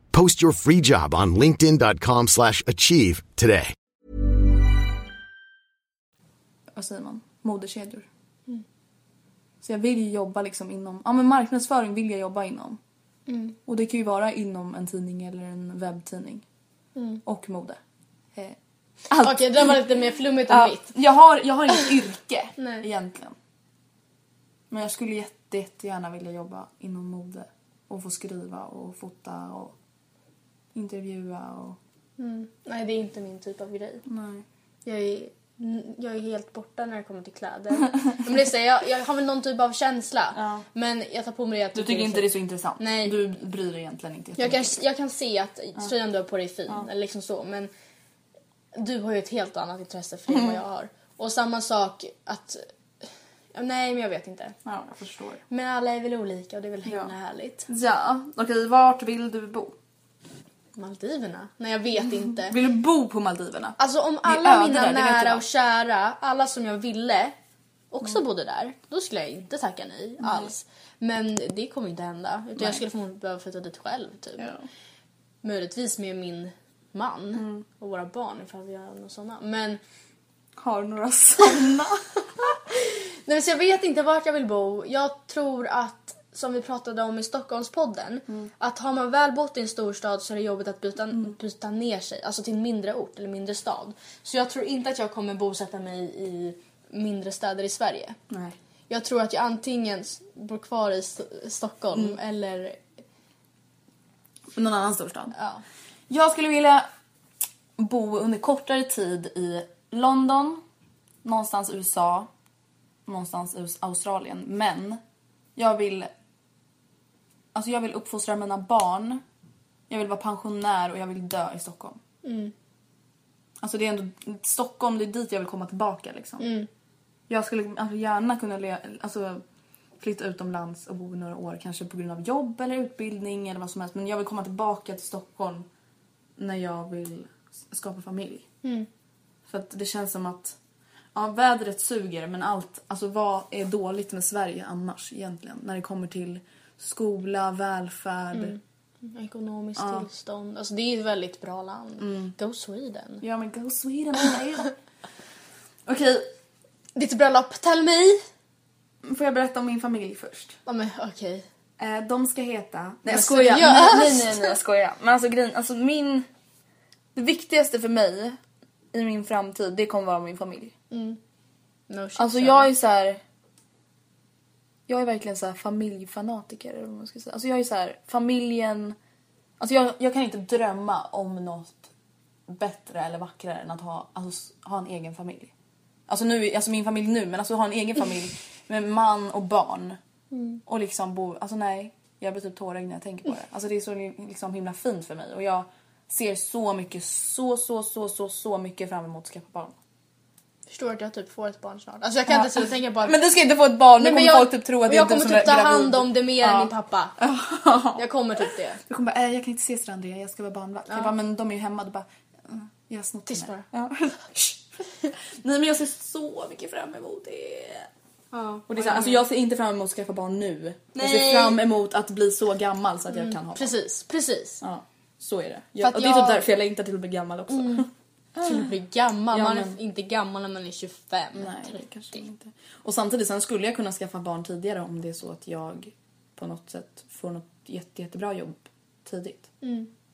S5: Post your free job on linkedin.com/achieve slash achieve today.
S2: vad säger man, modekedjor.
S1: Mm.
S2: Så jag vill ju jobba liksom inom, ja men marknadsföring vill jag jobba inom.
S1: Mm.
S2: Och det kan ju vara inom en tidning eller en webbtidning. Och mode. Eh, Allt.
S1: Mm. Okej, det där var lite mer flummigt än
S2: Ja,
S1: mitt.
S2: jag, har, jag
S1: [LAUGHS]
S2: har inget yrke
S1: Nej.
S2: egentligen. Men jag skulle jätte, jättegärna vilja jobba inom mode. Och få skriva och fota och intervjua och...
S1: Mm. Nej, det är inte min typ av grej.
S2: Nej.
S1: Jag är, n- jag är helt borta när det kommer till kläder. Men det är så, här, jag, jag har väl någon typ av känsla.
S2: Ja.
S1: Men jag tar på mig det jag
S2: Du tycker inte det är så intressant?
S1: Nej.
S2: Du bryr dig egentligen inte
S1: Jag kan,
S2: jättemycket.
S1: jag kan se att tröjan du har på dig är fin, eller liksom så, men du har ju ett helt annat intresse för det än vad jag har. Och samma sak att... Ja, nej, men jag vet inte.
S2: Ja, jag förstår.
S1: Men alla är väl olika och det är väl himla
S2: Ja.
S1: härligt.
S2: Ja, okej vart vill du bo?
S1: Maldiverna? Nej, jag vet inte.
S2: Vill du bo på Maldiverna?
S1: Alltså om
S2: är
S1: alla
S2: öde
S1: mina
S2: där, det vet jag
S1: nära
S2: bara.
S1: och kära, alla som jag ville, också
S2: Mm.
S1: bodde där. Då skulle jag inte tacka nej alls. Men det kommer inte hända. Utan jag skulle förmodligen behöva flytta dit själv typ.
S2: Ja.
S1: Möjligtvis med min man
S2: Mm.
S1: och våra barn ifall vi har några sådana. Men
S2: Har några sådana?
S1: [LAUGHS] Nej, men så jag vet inte vart jag vill bo. Jag tror att, som vi pratade om i Stockholmspodden,
S2: Mm.
S1: att har man väl bott i en storstad så är det jobbigt att byta, byta ner sig, alltså till en mindre ort eller mindre stad. Så jag tror inte att jag kommer bosätta mig i mindre städer i Sverige.
S2: Nej.
S1: Jag tror att jag antingen s- bor kvar i S- Stockholm
S2: Mm.
S1: eller...
S2: Någon annan storstad?
S1: Ja.
S2: Jag skulle vilja bo under kortare tid i London, någonstans USA, någonstans i Australien. Men jag vill, alltså jag vill uppfostra mina barn. Jag vill vara pensionär och jag vill dö i Stockholm. Mm. Alltså det är ändå Stockholm, det är dit jag vill komma tillbaka liksom. Jag skulle alltså, gärna kunna le, alltså, flytta utomlands och bo i några år kanske på grund av jobb eller utbildning eller vad som helst. Men jag vill komma tillbaka till Stockholm när jag vill s- skapa familj. För att det känns som att ja, vädret suger men allt, alltså vad är dåligt med Sverige annars egentligen? När det kommer till skola, välfärd.
S1: Ekonomiskt tillstånd. Alltså det är ett väldigt bra land.
S2: Mm.
S1: Go Sweden.
S2: Ja men go Sweden alla er. Okej,
S1: Ditt bröllop, tell me!
S2: får jag berätta om min familj först?
S1: Ja, men okej.
S2: Eh, de ska heta... Nej jag
S1: skojar.
S2: skojar. Nej, Alltså, nej, [LAUGHS] nej, nej jag skojar. Men alltså grejen, alltså min... Det viktigaste för mig i min framtid, det kommer vara min familj.
S1: No shit,
S2: Alltså
S1: sir.
S2: jag är så här. Jag är verkligen så här familjfanatiker eller vad man ska säga. Alltså jag är så här, familjen... Alltså jag, jag kan inte drömma om något bättre eller vackrare än att ha, alltså, s- ha en egen familj. Alltså, nu, alltså min familj nu, men alltså ha en egen familj med man och barn. Och liksom bo... Alltså nej, jag blir typ tårögd när jag tänker på det. Alltså det är så li- liksom himla fint för mig och jag ser så mycket, så, så, så, så, så mycket fram emot att skaffa barn.
S1: Förstår att jag typ får ett barn snart. Alltså jag kan inte sluta tänka på att...
S2: Men du ska inte få ett barn, nu
S1: Nej, men
S2: kommer
S1: jag,
S2: folk typ tro att
S1: jag
S2: det är
S1: kommer
S2: du som
S1: typ ta
S2: är gravid.
S1: hand om det mer än
S2: Ja.
S1: min
S2: [LAUGHS]
S1: pappa. Jag kommer typ det.
S2: Du kommer bara, äh, jag kan inte ses till Andrea, jag ska vara barnvakt. Jag bara, men de är ju hemma. Du bara, "Eh, jag har snott
S1: Tyst
S2: henne." Ja. [LAUGHS] Nej men jag ser så mycket fram emot det. Och det är så här, alltså jag ser inte fram emot att skaffa barn nu. Jag
S1: Nej. Mm,
S2: ser fram emot att bli så gammal så att jag kan ha barn.
S1: Precis, precis.
S2: Ja, så är det.
S1: För
S2: Jag,
S1: att
S2: och det är
S1: jag- Mm.
S2: typ därför jag längtar till att bli gammal också.
S1: Till att bli gammal.
S2: Ja,
S1: Man
S2: men-
S1: är inte gammal när man är 25.
S2: Nej, det
S1: 30.
S2: kanske inte. Och samtidigt, sen skulle jag kunna skaffa barn tidigare om det är så att jag på något sätt får något jätte, jättebra jobb tidigt.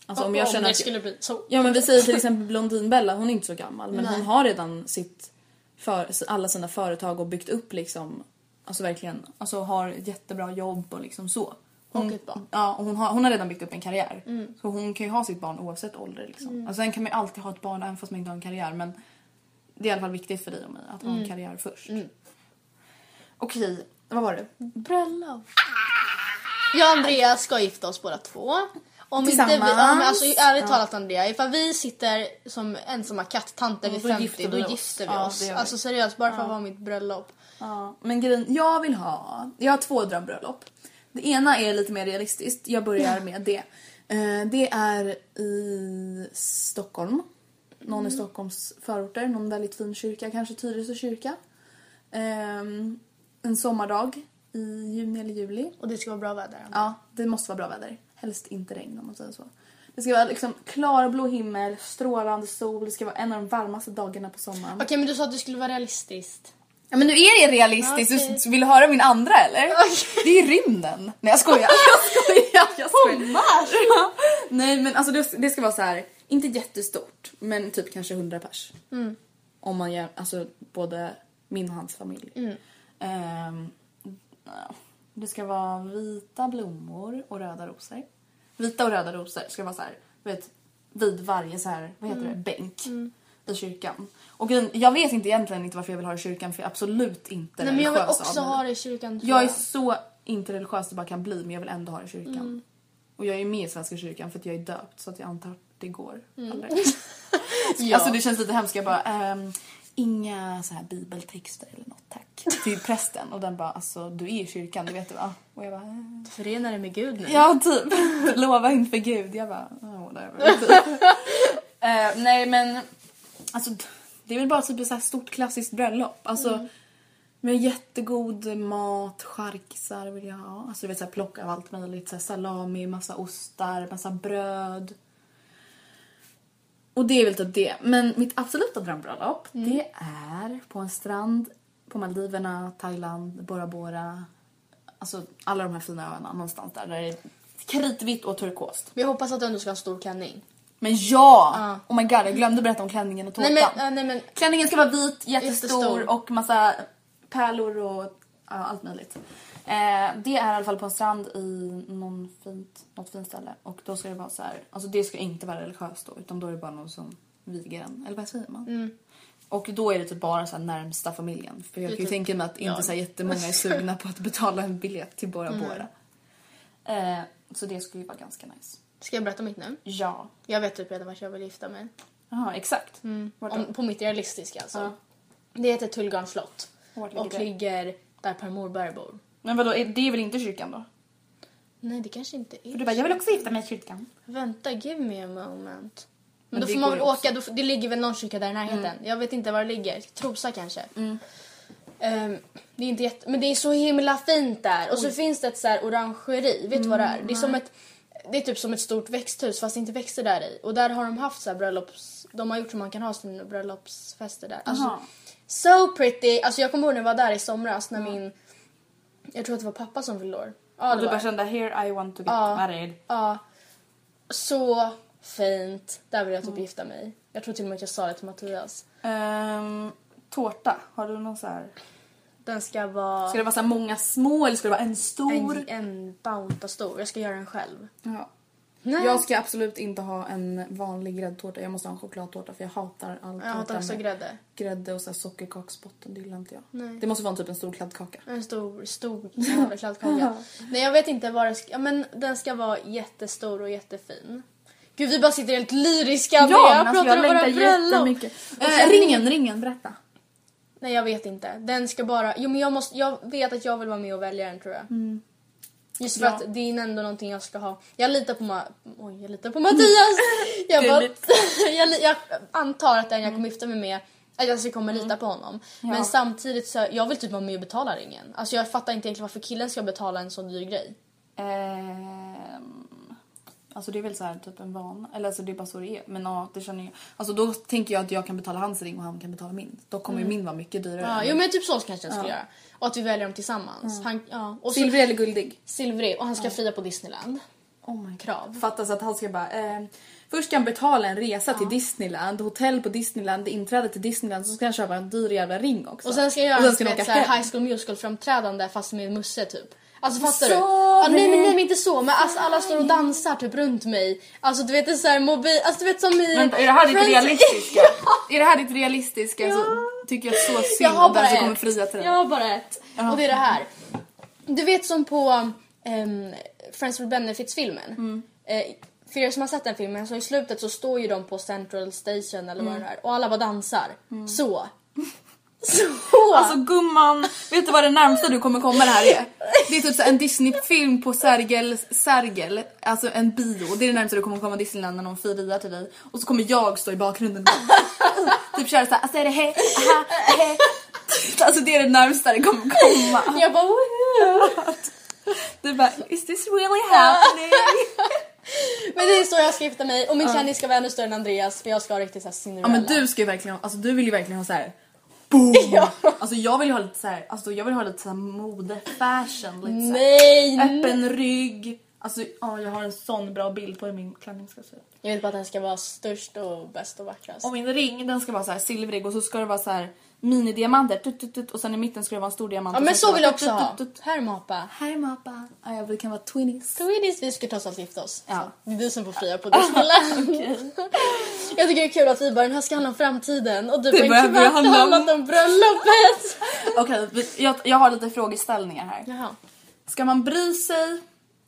S2: Alltså om
S1: Mm.
S2: jag
S1: om
S2: känner
S1: det
S2: att...
S1: skulle bli så.
S2: Ja men vi säger till exempel Blondinbella, hon är inte så gammal men hon har redan sitt för, alla sina företag och byggt upp liksom, alltså verkligen, alltså har ett jättebra jobb och liksom så. Hon,
S1: Och ett barn.
S2: Ja, och Mm. hon har, hon har redan byggt upp en karriär. Så hon kan ju ha sitt barn oavsett ålder liksom. Alltså sen kan man ju alltid ha ett barn även fast man inte har en karriär men det är i alla fall viktigt för dig och mig att ha en karriär först. Mm. Mm. Okej, vad var det?
S1: Bröllop. Jag och Andrea ska gifta oss båda två. Om inte vi, ja,
S2: Tillsammans.
S1: men alltså, ärligt talat Andrea, ifall vi sitter som ensamma kattanter vid
S2: Då
S1: 50
S2: gifter
S1: då
S2: vi oss.
S1: gifter vi
S2: Ja,
S1: oss.
S2: det gör vi.
S1: Alltså seriöst, bara för att vara mitt bröllop.
S2: Ja, men grejen, jag vill ha... Jag har två drömbröllop. Det ena är lite mer realistiskt. Jag börjar med det. Eh, det är i Stockholm. Någon
S1: Mm.
S2: i Stockholms förorter. Någon väldigt fin kyrka. Kanske Tyresö kyrka. Ehm, en sommardag i juni eller juli.
S1: Och det ska vara bra väder.
S2: Ja, det måste vara bra väder. Helst inte regn om man säger så. Det ska vara liksom klarblå himmel, strålande sol. Det ska vara en av de varmaste dagarna på sommaren.
S1: Okej men du sa att det skulle vara realistiskt.
S2: Ja men nu är det realistiskt. Du s- vill höra min andra eller? Det är ju rymden. Nej jag skojar. [LAUGHS] Jag skojar. Jag skojar. Ja. Nej men alltså det, det ska vara så här. inte jättestort men typ kanske 100 pers. Om man gör, alltså både min och hans familj.
S1: Mm.
S2: Ehm, ja. det ska vara vita blommor och röda rosor. Vita och röda rosor ska vara så här, du vet, vid varje så här, vad heter
S1: Mm.
S2: det, bänk i kyrkan. Och grejen- jag vet inte egentligen inte varför jag vill ha det i kyrkan för jag är absolut inte
S1: Nej men jag vill
S2: religiös av
S1: också
S2: mig.
S1: ha det i kyrkan. tror
S2: Jag är så inte Mm. religiös det bara kan bli men jag vill ändå ha det i kyrkan. Och jag är med i Svenska kyrkan för att jag är döpt så att jag antar det går [LAUGHS] aldrig. Alltså det känns lite hemskt. Jag bara, ehm, inga så här bibeltexter eller något tack. [LAUGHS] Till prästen och den bara, alltså du är i kyrkan, det vet du va? Och jag bara, eh.
S1: Förena dig med Gud nu.
S2: ja typ. [LAUGHS] Lova inför Gud. Jag bara, oh, [LAUGHS] whatever. typ. Eh, nej men, alltså det är väl bara typ ett så här stort klassiskt bröllop. Alltså
S1: Mm.
S2: med jättegod mat, charkisar vill jag ha. Alltså du vet så här plock av allt möjligt. Så här salami, massa ostar, massa bröd. Och det är väl typ det. Men mitt absoluta drömbröllop
S1: Mm.
S2: det är på en strand på Maldiverna, Thailand, Bora Bora. Alltså alla de här fina öarna någonstans där. Där det är kritvitt och turkost.
S1: Men jag hoppas att du ändå ska ha en stor klänning.
S2: Men ja! Oh my god, jag glömde berätta om klänningen och tårtan.
S1: Nej men, äh, nej men.
S2: Klänningen ska vara vit, jättestor,
S1: Jättestor.
S2: och massa pärlor och ja, allt möjligt. Eh, det är i alla fall på en strand i någon fint, något fint ställe. Och då ska det vara så här, alltså det ska inte vara religiöst då utan då är det bara någon som viger en. Eller vad säger man?
S1: Mm.
S2: Och då är det typ bara så här närmsta familjen. För jag kan
S1: typ-
S2: ju tänka mig att inte så här jättemånga är sugna på att betala en biljett till Bora
S1: Mm.
S2: Bora. Eh, så det skulle ju vara ganska nice.
S1: Ska jag berätta mitt nu?
S2: Ja.
S1: Jag vet typ redan vart jag vill gifta mig.
S2: Ja, exakt. Vart då?
S1: Mm. Om, på mitt realistiska alltså. Det heter Tullgarns slott.
S2: Vart ligger
S1: och
S2: det?
S1: ligger där Per Morberg bor.
S2: Men vadå, är- det är väl inte kyrkan då?
S1: Nej det kanske inte är.
S2: För du bara, jag vill också gifta mig i kyrkan.
S1: Vänta, give me a moment. Men
S2: Men
S1: då
S2: det
S1: får man väl
S2: går också. Mm.
S1: åka, då, f- det ligger väl någon kyrka där i närheten. Jag vet inte var det ligger. Trosa kanske. Ehm, det är inte jätte... Men det är så himla fint där. Och så finns det ett så här orangeri. Vet du vad det är?
S2: Mm,
S1: Det är, som ett, det är typ som ett stort växthus fast det är inte växter där i. Och där har de haft så här bröllops... De har gjort så man kan ha sina bröllopsfester där. Alltså, so pretty! Alltså jag kommer ihåg när jag var där i somras när min... Jag tror att det var pappa som fyllde år. Ja,
S2: Och
S1: det
S2: du
S1: var
S2: bara
S1: det.
S2: kände, here I want to get married.
S1: Ja. Så fint. Där vill jag typ gifta mig. Jag tror till och med att jag sa det till Mattias.
S2: Ehm, tårta, har du någon så här?
S1: Den ska vara
S2: Ska det vara så här många små eller ska det vara en stor?
S1: en, en bounta stor. Jag ska göra den själv.
S2: Ja.
S1: Nej.
S2: Jag ska absolut inte ha en vanlig gräddtårta, jag måste ha en chokladtårta för jag hatar all
S1: Jag hatar också
S2: med
S1: grädde.
S2: grädde och så här sockerkaksbotten, det gillar inte jag.
S1: Nej.
S2: Det måste vara en typ en stor kladdkaka.
S1: En stor, [LAUGHS] stor jävla kladdkaka. Nej jag vet inte vad den ska... Ja, men den ska vara jättestor och jättefin. Gud vi bara sitter helt lyriska när alltså, jag pratar om våra bröllop.
S2: Eh, ringen, ringen, berätta.
S1: Nej jag vet inte. Den ska bara... Jo men jag måste... Jag vet att jag vill vara med och välja den tror jag. Just för
S2: Ja.
S1: att det är ändå någonting jag ska ha. Jag litar på, Ma- Oj, jag litar på Mattias! Jag, bara,
S2: Gulligt.
S1: [LAUGHS] jag, li- jag antar att den jag kommer gifta mig med att jag ska kommer lita på honom. Men samtidigt så jag vill typ vara med och betala ringen. Alltså jag fattar inte egentligen varför killen ska betala en sån dyr grej.
S2: Ehm, alltså det är väl så här typ en vana. Eller alltså det är bara så det är. Men ja, det känner jag. Alltså då tänker jag att jag kan betala hans ring och han kan betala min. Då kommer ju min vara mycket dyrare.
S1: Mm. Ja, jo men typ så kanske jag skulle göra. Och att vi väljer dem tillsammans. Han, ja. och så,
S2: Silvrig eller guldig?
S1: silvrig. Och han ska fria på Disneyland.
S2: Oh my god.
S1: Krav.
S2: Fattas att han ska bara... ehm, först ska han betala en resa till Disneyland, hotell på Disneyland, inträde till Disneyland. Så ska han köpa en dyr jävla ring också.
S1: Och sen ska jag
S2: Och
S1: göra
S2: sen
S1: ett
S2: ska han åka
S1: såhär
S2: hem.
S1: high school musical framträdande fast med Musse typ. Alltså fattar
S2: Så
S1: du? Ja, nej, men, nej
S2: bra.
S1: men inte så men alltså, alla står och dansar typ runt mig. Alltså du vet det är såhär mobil, alltså du vet som i...
S2: Vänta, är det här ditt
S1: Friends- [LAUGHS]
S2: realistiska? Är det här ditt realistiska så tycker jag så synd
S1: Jag har
S2: om den
S1: bara
S2: som kommer
S1: ett.
S2: fria till
S1: Jag har bara ett.
S2: Ja.
S1: Och det är det här. Du vet som på ehm, Friends with Benefits filmen.
S2: Mm.
S1: Eh, för er som har sett den filmen så i slutet så står ju de på Central Station eller vad
S2: Mm.
S1: det är och alla bara dansar.
S2: [LAUGHS]
S1: Så. Så!
S2: Alltså gumman, vet du vad det närmsta du kommer komma det här är? Det är typ så här en Disney-film på Sergel, Sergel, alltså en bio. Det är det närmsta du kommer komma Disneyland när någon friar till dig. Och så kommer jag stå
S1: [LAUGHS]
S2: i bakgrunden och typ köra såhär, alltså är det hej, aha, hej. Alltså det är det närmsta det kommer komma.
S1: jag bara woohoo!
S2: Du bara, is this really happening?
S1: [LAUGHS] Men det är så jag ska gifta mig och min kändis ska vara ännu större än Andreas för jag ska ha riktigt såhär
S2: Ja
S1: Cinderella.
S2: men du ska ju verkligen, alltså du vill ju verkligen ha så här. Boom!
S1: [LAUGHS] Ja.
S2: Alltså jag vill ju ha lite såhär, alltså jag vill ha lite såhär mode, fashion, lite så här.
S1: Nej!
S2: Öppen rygg. Alltså ja, jag har en sån bra bild på hur min klänning ska se ut.
S1: Jag vill bara att den ska vara störst och bäst och vackrast.
S2: Och min ring den ska vara så här silvrig och så ska det vara så här minidiamanter tut, tut, tut, och sen i mitten ska det vara en stor diamant.
S1: ja
S2: och
S1: men
S2: sen ska
S1: så
S2: det
S1: vill
S2: vara
S1: jag också
S2: tut,
S1: ha.
S2: tut, tut.
S1: Här mappa.
S2: Här mappa. Ja, jag- vi kan vara [LAUGHS] twinnies.
S1: Swedish, vi ska trots allt gifta oss.
S2: Ja.
S1: Det är du som får fria
S2: [LAUGHS]
S1: på Disneyland. Jag tycker det är kul att vi bara, den här ska handla om framtiden och du
S2: Det
S1: bara,
S2: börjar
S1: inte bara
S2: handla om-
S1: handlat om bröllopet. [LAUGHS]
S2: Okej, vi- jag, jag har lite frågeställningar här.
S1: Jaha.
S2: Ska man bry sig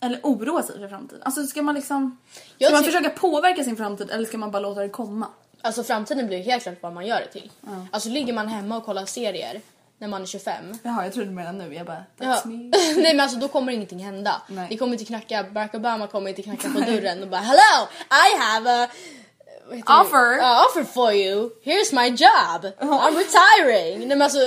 S2: Eller oroa sig för framtiden? Alltså ska man liksom... Ska
S1: Jag
S2: man
S1: ty-
S2: försöka påverka sin framtid eller ska man bara låta det komma?
S1: Alltså framtiden blir ju helt klart vad man gör det till. Alltså ligger man hemma och kollar serier när man är 25.
S2: Jaha, jag trodde du menade nu. Jag bara,
S1: Ja.
S2: that's [LAUGHS] me.
S1: [LAUGHS] Nej men alltså då kommer ingenting hända.
S2: Nej.
S1: Det kommer inte knacka, Barack Obama kommer inte knacka på dörren och bara hello I have a vad heter det?
S2: Offer."
S1: Ja, offer for you, here's my job, I'm retiring. Nej men alltså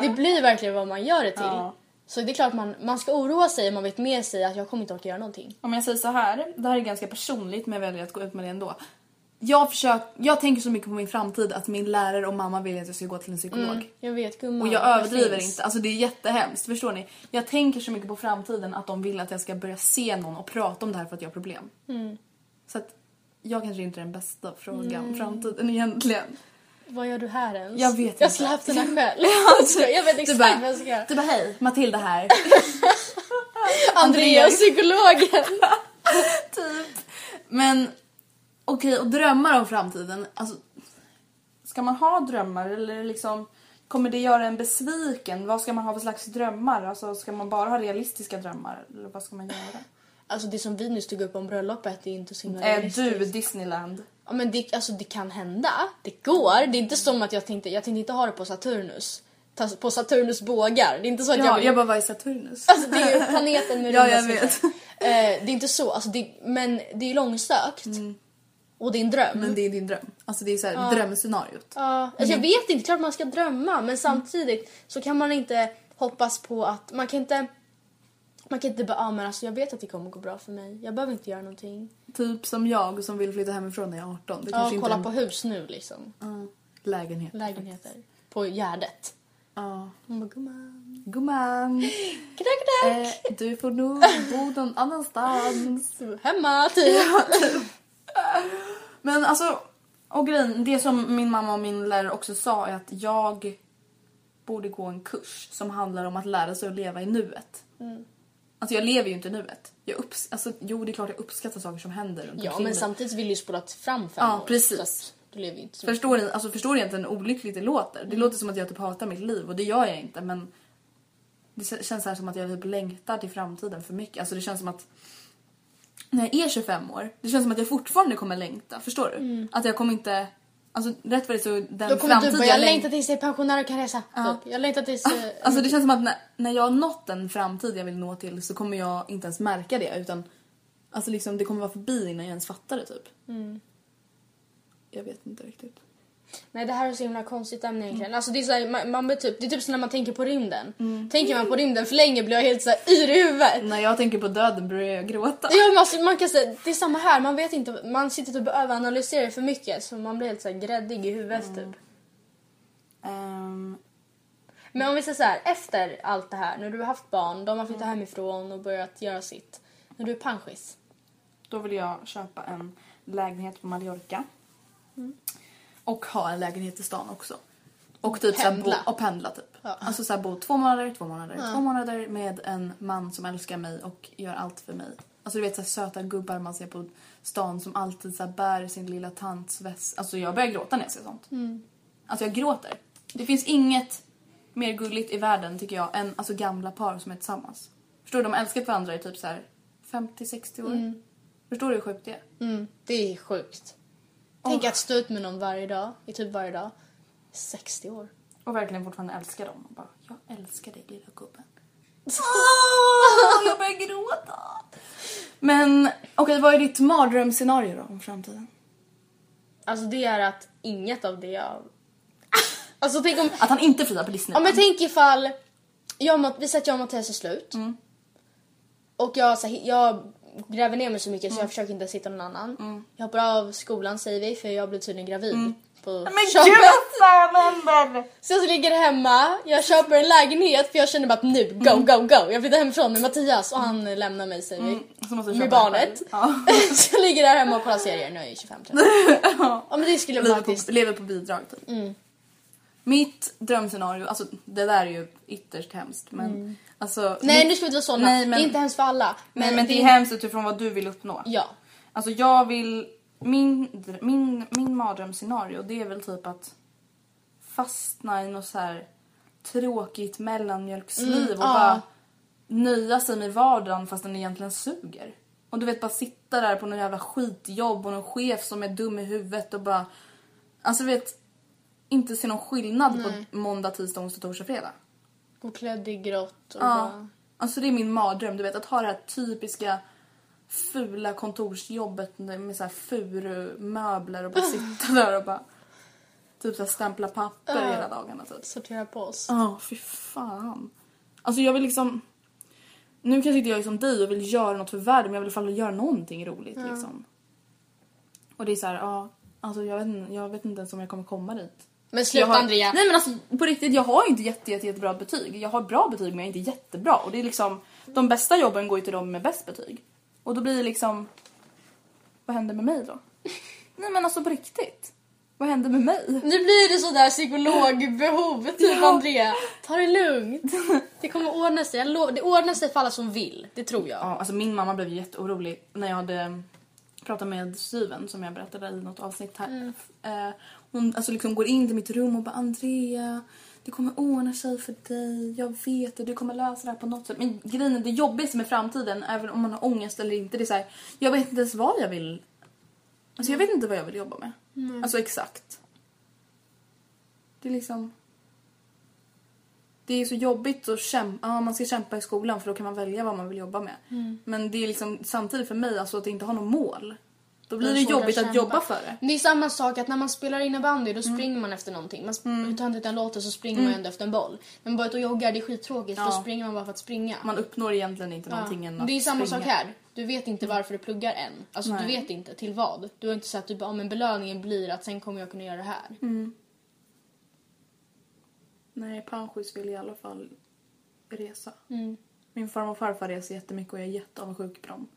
S1: det blir verkligen vad man gör det till.
S2: Ja.
S1: Så det är klart man, man ska oroa sig om man vet med sig att jag kommer inte orka göra någonting.
S2: Om jag säger så här, det här är ganska personligt men jag väljer att gå ut med det ändå. Jag, försök, jag tänker så mycket på min framtid att min lärare och mamma vill att jag ska gå till en psykolog.
S1: Jag vet gumman.
S2: Och jag
S1: det
S2: överdriver
S1: finns.
S2: inte, alltså det är jättehemskt, förstår ni? Jag tänker så mycket på framtiden att de vill att jag ska börja se någon och prata om det här för att jag har problem.
S1: Mm.
S2: Så att jag kanske inte är den bästa frågan om framtiden egentligen.
S1: Vad gör du här ens?
S2: Jag vet
S1: Jag
S2: inte. alltså,
S1: skulle haft den här
S2: [LAUGHS]
S1: själv. [LAUGHS] jag vet
S2: Du
S1: exakt
S2: bara,
S1: vad jag ska göra.
S2: du bara hej, Matilda här.
S1: [LAUGHS] Andrea, psykologen. [LAUGHS]
S2: typ. Men okej, och drömmar om framtiden. Alltså, ska man ha drömmar eller liksom kommer det göra en besviken? Vad ska man ha för slags drömmar? Alltså, ska man bara ha realistiska drömmar eller vad ska man göra?
S1: Alltså det som vi nyss tog upp om bröllopet det är inte så himla
S2: Eh,
S1: Mm. realistiskt.
S2: du, Disneyland.
S1: Ja, men det, alltså, det kan hända. Det går. Det är inte som att jag tänkte, jag tänkte inte ha det på Saturnus. Ta, på Saturnus bågar. Det är inte så att jag
S2: Ja,
S1: vill...
S2: jag bara var i Saturnus.
S1: Alltså det är ju planeten med
S2: [LAUGHS] Ja,
S1: runda
S2: jag
S1: cirklar.
S2: vet.
S1: Eh, det är inte så, alltså, det, men det är ju långsökt. Och det är en dröm.
S2: Mm. Men det Mm. är din dröm. Alltså det är så här, drömscenariot.
S1: Ja, alltså, jag vet inte, klart man ska drömma men samtidigt så kan man inte hoppas på att, man kan inte man kan inte bara, ah, men alltså jag vet att det kommer gå bra för mig. Jag behöver inte göra någonting.
S2: Typ som jag som vill flytta hemifrån när jag är 18. Det
S1: Ja,
S2: kanske
S1: kolla
S2: inte
S1: på hus nu liksom.
S2: är en... på... Lägenhet.
S1: Lägenheter. På Gärdet.
S2: Ja.
S1: Hon bara, gumman.
S2: Gumman.
S1: Knack, knack.
S2: Eh, du får nog bo någon annanstans.
S1: Hemma, typ.
S2: Men alltså, och grejen, det som min mamma och min lärare också sa är att jag borde gå en kurs som handlar om att lära sig att leva i nuet.
S1: Mm.
S2: Alltså jag lever ju inte i nuet. Jag upps- alltså, jo, det är klart jag uppskattar saker som händer runt
S1: Ja,
S2: omkring
S1: men
S2: mig.
S1: samtidigt vill du ju spola fram fem
S2: Ja,
S1: år.
S2: precis.
S1: Så att du lever ju inte så mycket.
S2: Förstår ni, alltså, förstår ni egentligen hur olyckligt det låter? Det
S1: Mm.
S2: låter som att jag typ hatar mitt liv och det gör jag inte men det k- känns här som att jag typ längtar till framtiden för mycket. Alltså det känns som att när jag är 25 år, det känns som att jag fortfarande kommer längta. Förstår du? Att jag kommer inte... Alltså rätt vad det är så
S1: Mm. Då
S2: den
S1: kommer du
S2: framtiden
S1: bara, jag längtar tills jag är pensionär och kan resa.
S2: Ja.
S1: Typ. Jag längtar tills... eh,
S2: Alltså det känns som att när, när jag har nått den framtid jag vill nå till så kommer jag inte ens märka det utan alltså liksom det kommer vara förbi innan jag ens fattar det typ.
S1: Mm.
S2: Jag vet inte riktigt.
S1: Nej det här är så himla konstigt ämne egentligen. Alltså det är så här, man, man blir typ, det är typ som när man tänker på rymden.
S2: Mm.
S1: Tänker man på rymden för länge blir jag helt så här yr i huvudet.
S2: När jag tänker på döden börjar jag gråta.
S1: Ja, men alltså, man kan säga, det är samma här, man vet inte, man sitter typ och överanalyserar för mycket så man blir helt så här gräddig i huvudet
S2: Mm.
S1: typ.
S2: Ehm,
S1: Men om vi säger så här, efter allt det här, när du har haft barn, de har flyttat hemifrån och börjat göra sitt. När du är panschis.
S2: då vill jag köpa en lägenhet på Mallorca. Och ha en lägenhet i stan också. Och typ
S1: Pendla.
S2: Så här, bo, och pendla typ. Alltså så här, bo två månader, två månader, två månader med en man som älskar mig och gör allt för mig. Alltså du vet så här, söta gubbar man ser på stan som alltid så här, bär sin lilla tants väska. Alltså jag börjar gråta när jag ser sånt. Alltså jag gråter. Det finns inget mer gulligt i världen tycker jag än alltså, gamla par som är tillsammans. Förstår du? De älskar varandra i typ så här 50-60 år. Förstår du hur sjukt det är?
S1: Det är sjukt. Tänk att stå ut med någon varje dag, i typ varje dag. 60 år.
S2: Och verkligen fortfarande älskar dem. Och bara, jag älskar dig lilla gubben. [LAUGHS] jag börjar gråta. Men okej, vad är ditt mardrömsscenario då om framtiden?
S1: Alltså det är att inget av det jag... Alltså tänk om...
S2: Att han inte friar på Disney.
S1: Ja men tänk ifall... Jag, och Mat- vi säger att jag och Mattias är slut. Och jag, så här, jag gräver ner mig så mycket så jag försöker inte sitta någon annan. Jag hoppar av skolan säger vi för jag blir tydligen gravid. På [LAUGHS]
S2: men
S1: köpet.
S2: gud vad fan händer?
S1: Så jag ligger hemma, jag köper en lägenhet för jag känner bara att nu, go,
S2: Mm.
S1: go, go. Jag flyttar hemifrån med Mattias och han lämnar mig säger vi.
S2: Så måste jag
S1: Med
S2: köpa en
S1: barnet.
S2: själv. Mm.
S1: [LAUGHS]
S2: Ja.
S1: så jag ligger där hemma och kollar serier när jag är 25 tror jag. Ja men det skulle jag
S2: Lever på,
S1: faktiskt...
S2: lever på bidrag typ. Mitt drömscenario, alltså det där är ju ytterst hemskt men alltså.
S1: Mm. Nej
S2: mitt-
S1: nu ska vi inte vara såna.
S2: Nej, men-
S1: Det är inte hemskt för alla.
S2: Nej men det är hemskt utifrån vad du vill uppnå.
S1: Ja.
S2: Alltså jag vill... Min, min, min mardrömsscenario det är väl typ att fastna i något så här tråkigt mellanmjölksliv och bara nöja sig med vardagen fast den egentligen suger. Och du vet bara sitta där på någon jävla skitjobb och någon chef som är dum i huvudet och bara... Alltså du vet, inte se någon skillnad på måndag, tisdag, onsdag, torsdag, fredag.
S1: Gå klädd i grått och
S2: Ja.
S1: bara...
S2: Alltså det är min mardröm, du vet att ha det här typiska fula kontorsjobbet med så här furumöbler och bara sitta där och bara typ så här stämpla papper hela dagarna typ.
S1: Sortera på oss.
S2: Ja, fy fan. Alltså jag vill liksom... Nu kanske inte jag är som dig och vill göra något för världen men jag vill i alla fall göra någonting roligt liksom. Och det är så här, ja. Alltså jag vet, inte- jag vet inte ens om jag kommer komma dit.
S1: Men
S2: Jag
S1: sluta
S2: har,
S1: Andrea.
S2: Nej men alltså på riktigt, jag har inte jätte, jätte, jättebra betyg. Jag har bra betyg men jag är inte jättebra. Och det är liksom, de bästa jobben går ju till de med bäst betyg. Och då blir det liksom, vad händer med mig
S1: [LAUGHS]
S2: då? nej men alltså på riktigt. Vad händer med mig?
S1: Nu blir det sådär psykologbehov typ Andrea. Ta det lugnt. Det kommer ordna sig. Jag lo- det ordnar sig för alla som vill. Det tror jag.
S2: Ja, alltså min mamma blev ju jätteorolig när jag hade mm, pratat med Syven som jag berättade i något avsnitt här. Eh, Hon alltså liksom går in till mitt rum och bara Andrea, det kommer ordna sig för dig. Jag vet det, du kommer lösa det här på något sätt. Men grejen är det jobbigaste med framtiden, även om man har ångest eller inte, det är så här, jag vet inte ens vad jag vill. Alltså jag vet inte vad jag vill jobba med. Alltså exakt. Det är liksom... Det är så jobbigt att kämpa. Ja, man ska kämpa i skolan för då kan man välja vad man vill jobba med.
S1: Mm.
S2: Men det är liksom samtidigt för mig alltså att inte ha något mål. Då blir det
S1: svårt att
S2: jobbigt att
S1: kämpa.
S2: jobba för det.
S1: Men Det är samma sak att när man spelar innebandy då springer man efter någonting. Man mm. tar inte ut en låt och så springer man ändå efter en boll. Men bara ut och joggar det är skittråkigt för då
S2: Mm. Ja.
S1: springer man bara för att springa.
S2: Man uppnår egentligen inte
S1: Ja.
S2: någonting än att
S1: Det är samma
S2: springa.
S1: sak här. Du vet inte varför du pluggar än. Alltså du
S2: Nej.
S1: vet inte till vad. Du har inte sagt typ, ah, men belöningen blir att sen kommer jag kunna göra det här.
S2: Mm. Nej, Panschis vill i alla fall resa. Min farmor och farfar reser jättemycket och jag är jätteavundsjuk på dem.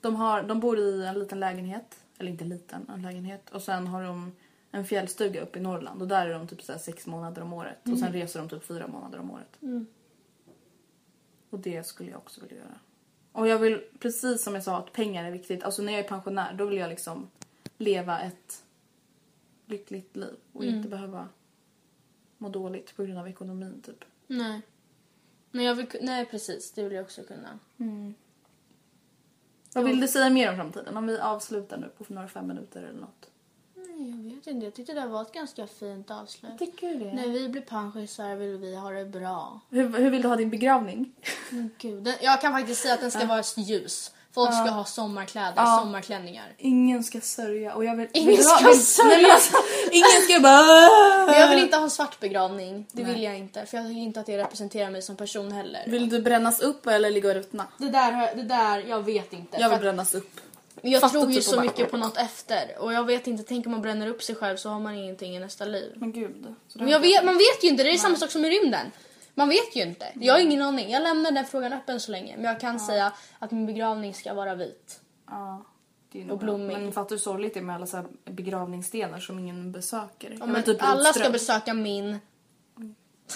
S2: De, har, de bor i en liten lägenhet, eller inte liten, en lägenhet. Och sen har de en fjällstuga uppe i Norrland och där är de typ så här sex månader om året. Och sen reser de typ fyra månader om året. Och det skulle jag också vilja göra. Och jag vill, precis som jag sa, att pengar är viktigt. Alltså när jag är pensionär, då vill jag liksom leva ett lyckligt liv och inte behöva må dåligt på grund av ekonomin typ.
S1: Nej. Nej, jag vill, ku- nej precis, det vill jag också kunna.
S2: Vad vill du säga mer om framtiden? Om vi avslutar nu på några fem minuter eller något.
S1: Nej, jag vet inte. Jag tyckte det var ett ganska fint avslut.
S2: Tycker du det?
S1: När vi blir pensionärer vill vi ha det bra.
S2: Hur, hur vill du ha din begravning? Mm.
S1: Men gud, den, jag kan faktiskt säga att den ska vara ljus. Folk ska ha sommarkläder,
S2: Ja.
S1: sommarklänningar.
S2: Ingen ska sörja och jag vill...
S1: Ingen
S2: vill du ha-
S1: ska
S2: vill-
S1: sörja.
S2: Nej, men alltså, ingen ska bara...
S1: Men jag vill inte ha en svart begravning. Det vill jag inte. För jag tycker inte att det representerar mig som person heller.
S2: Vill du brännas upp eller ligga och ruttna?
S1: Det där, har- det där, jag vet inte.
S2: Jag
S1: För
S2: vill
S1: att-
S2: brännas upp.
S1: Jag
S2: Fattar
S1: tror ju
S2: typ
S1: så
S2: och bara-
S1: mycket på något efter och jag vet inte, tänk om man bränner upp sig själv så har man ingenting i nästa liv.
S2: Men gud. Så
S1: Men
S2: det har
S1: jag vet, man vet ju inte, det är samma sak som i rymden. Man vet ju inte. Jag har ingen aning. Jag lämnar den frågan öppen så länge. Men jag kan säga att min begravning ska vara vit.
S2: Ja. Det är nog
S1: Och
S2: bra.
S1: blommig.
S2: Men fattar du hur sorgligt det är med alla så här begravningsstenar som ingen besöker? Jag
S1: Ja,
S2: vill
S1: men
S2: typ
S1: alla ska
S2: Rotström.
S1: besöka min.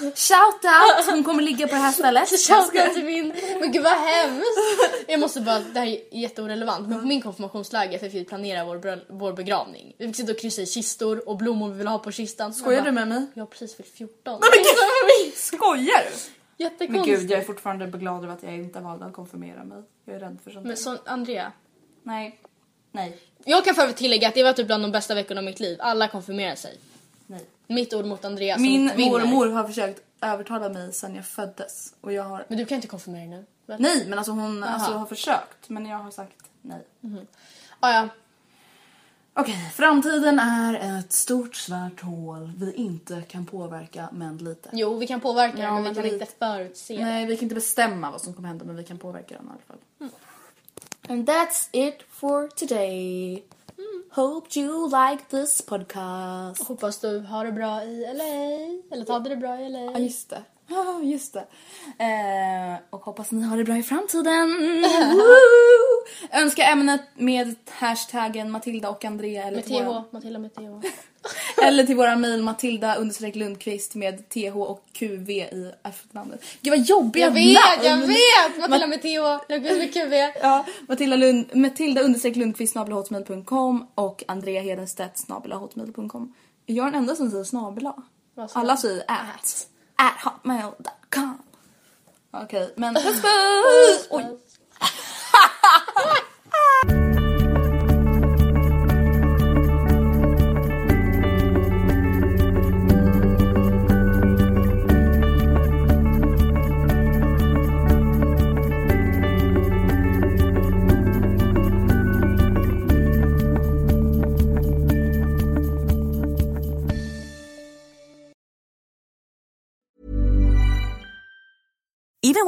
S2: Shout out! Hon kommer ligga på det
S1: [LAUGHS]
S2: här stället.
S1: Shoutout till min. Men gud vad hemskt. Jag måste bara, det här är jätteorelevant. Men på min konfirmationsläger fick vi planera vår, bröll- vår begravning. Vi fick sitta och kryssa i kistor och blommor vi ville ha på kistan. Så
S2: Skojar
S1: jag
S2: du
S1: bara,
S2: med mig?
S1: Jag har precis fyllt 14.
S2: Men gud! Skojar du? Men
S1: Jättekonstigt.
S2: gud, jag är fortfarande glad över att jag inte valde att konfirmera mig. Jag är rädd för sånt.
S1: Men så, Andrea.
S2: Nej. Nej.
S1: Jag kan för övrigt tillägga att det var typ bland de bästa veckorna i mitt liv. Alla konfirmerar sig.
S2: Nej.
S1: Alltså, Mitt ord mot Andrea som
S2: Min
S1: vinner.
S2: mormor har försökt övertala mig sedan jag föddes och jag har...
S1: Men du kan inte konfirmera dig nu. väl?
S2: Nej, men alltså hon alltså, har försökt men jag har sagt nej.
S1: Ah, ja.
S2: Okej, framtiden är ett stort svart hål vi inte kan påverka men lite.
S1: Jo, vi kan påverka det
S2: Ja,
S1: men vi
S2: men
S1: kan
S2: lite.
S1: inte förutse det. Mm.
S2: Nej, vi kan inte bestämma vad som kommer hända men vi kan påverka den i alla fall.
S3: And that's it for today.
S1: Mm.
S3: Hope you like this podcast.
S1: Hoppas du har det bra i LA. Eller hade det bra i LA.
S2: Ja, just det. [LAUGHS] Ja, just det. Eh, och hoppas ni har det bra
S1: [LAUGHS]
S2: i framtiden. Woo! Önska ämnet med hashtaggen Matilda och Andrea eller
S1: med
S2: till våran-
S1: TH. Matilda med TH.
S2: [LAUGHS] eller till våra mejl Matilda understreck Lundqvist med TH och QV i efternamnet. Gud vad jobbiga
S1: jag vet, jag
S2: namn!
S1: vet! Matilda med TH. Lukas med QV.
S2: Ja, Matilda, Lund, Matilda understreck Lundqvist snabelahotmail.com och Andrea Hedenstedt snabelahotmail.com. Är jag den enda som säger snabela?
S1: Vad sa
S2: Alla säger at. At hotmail.com. Ja,
S1: Okej, men puss puss! Oj.
S6: Even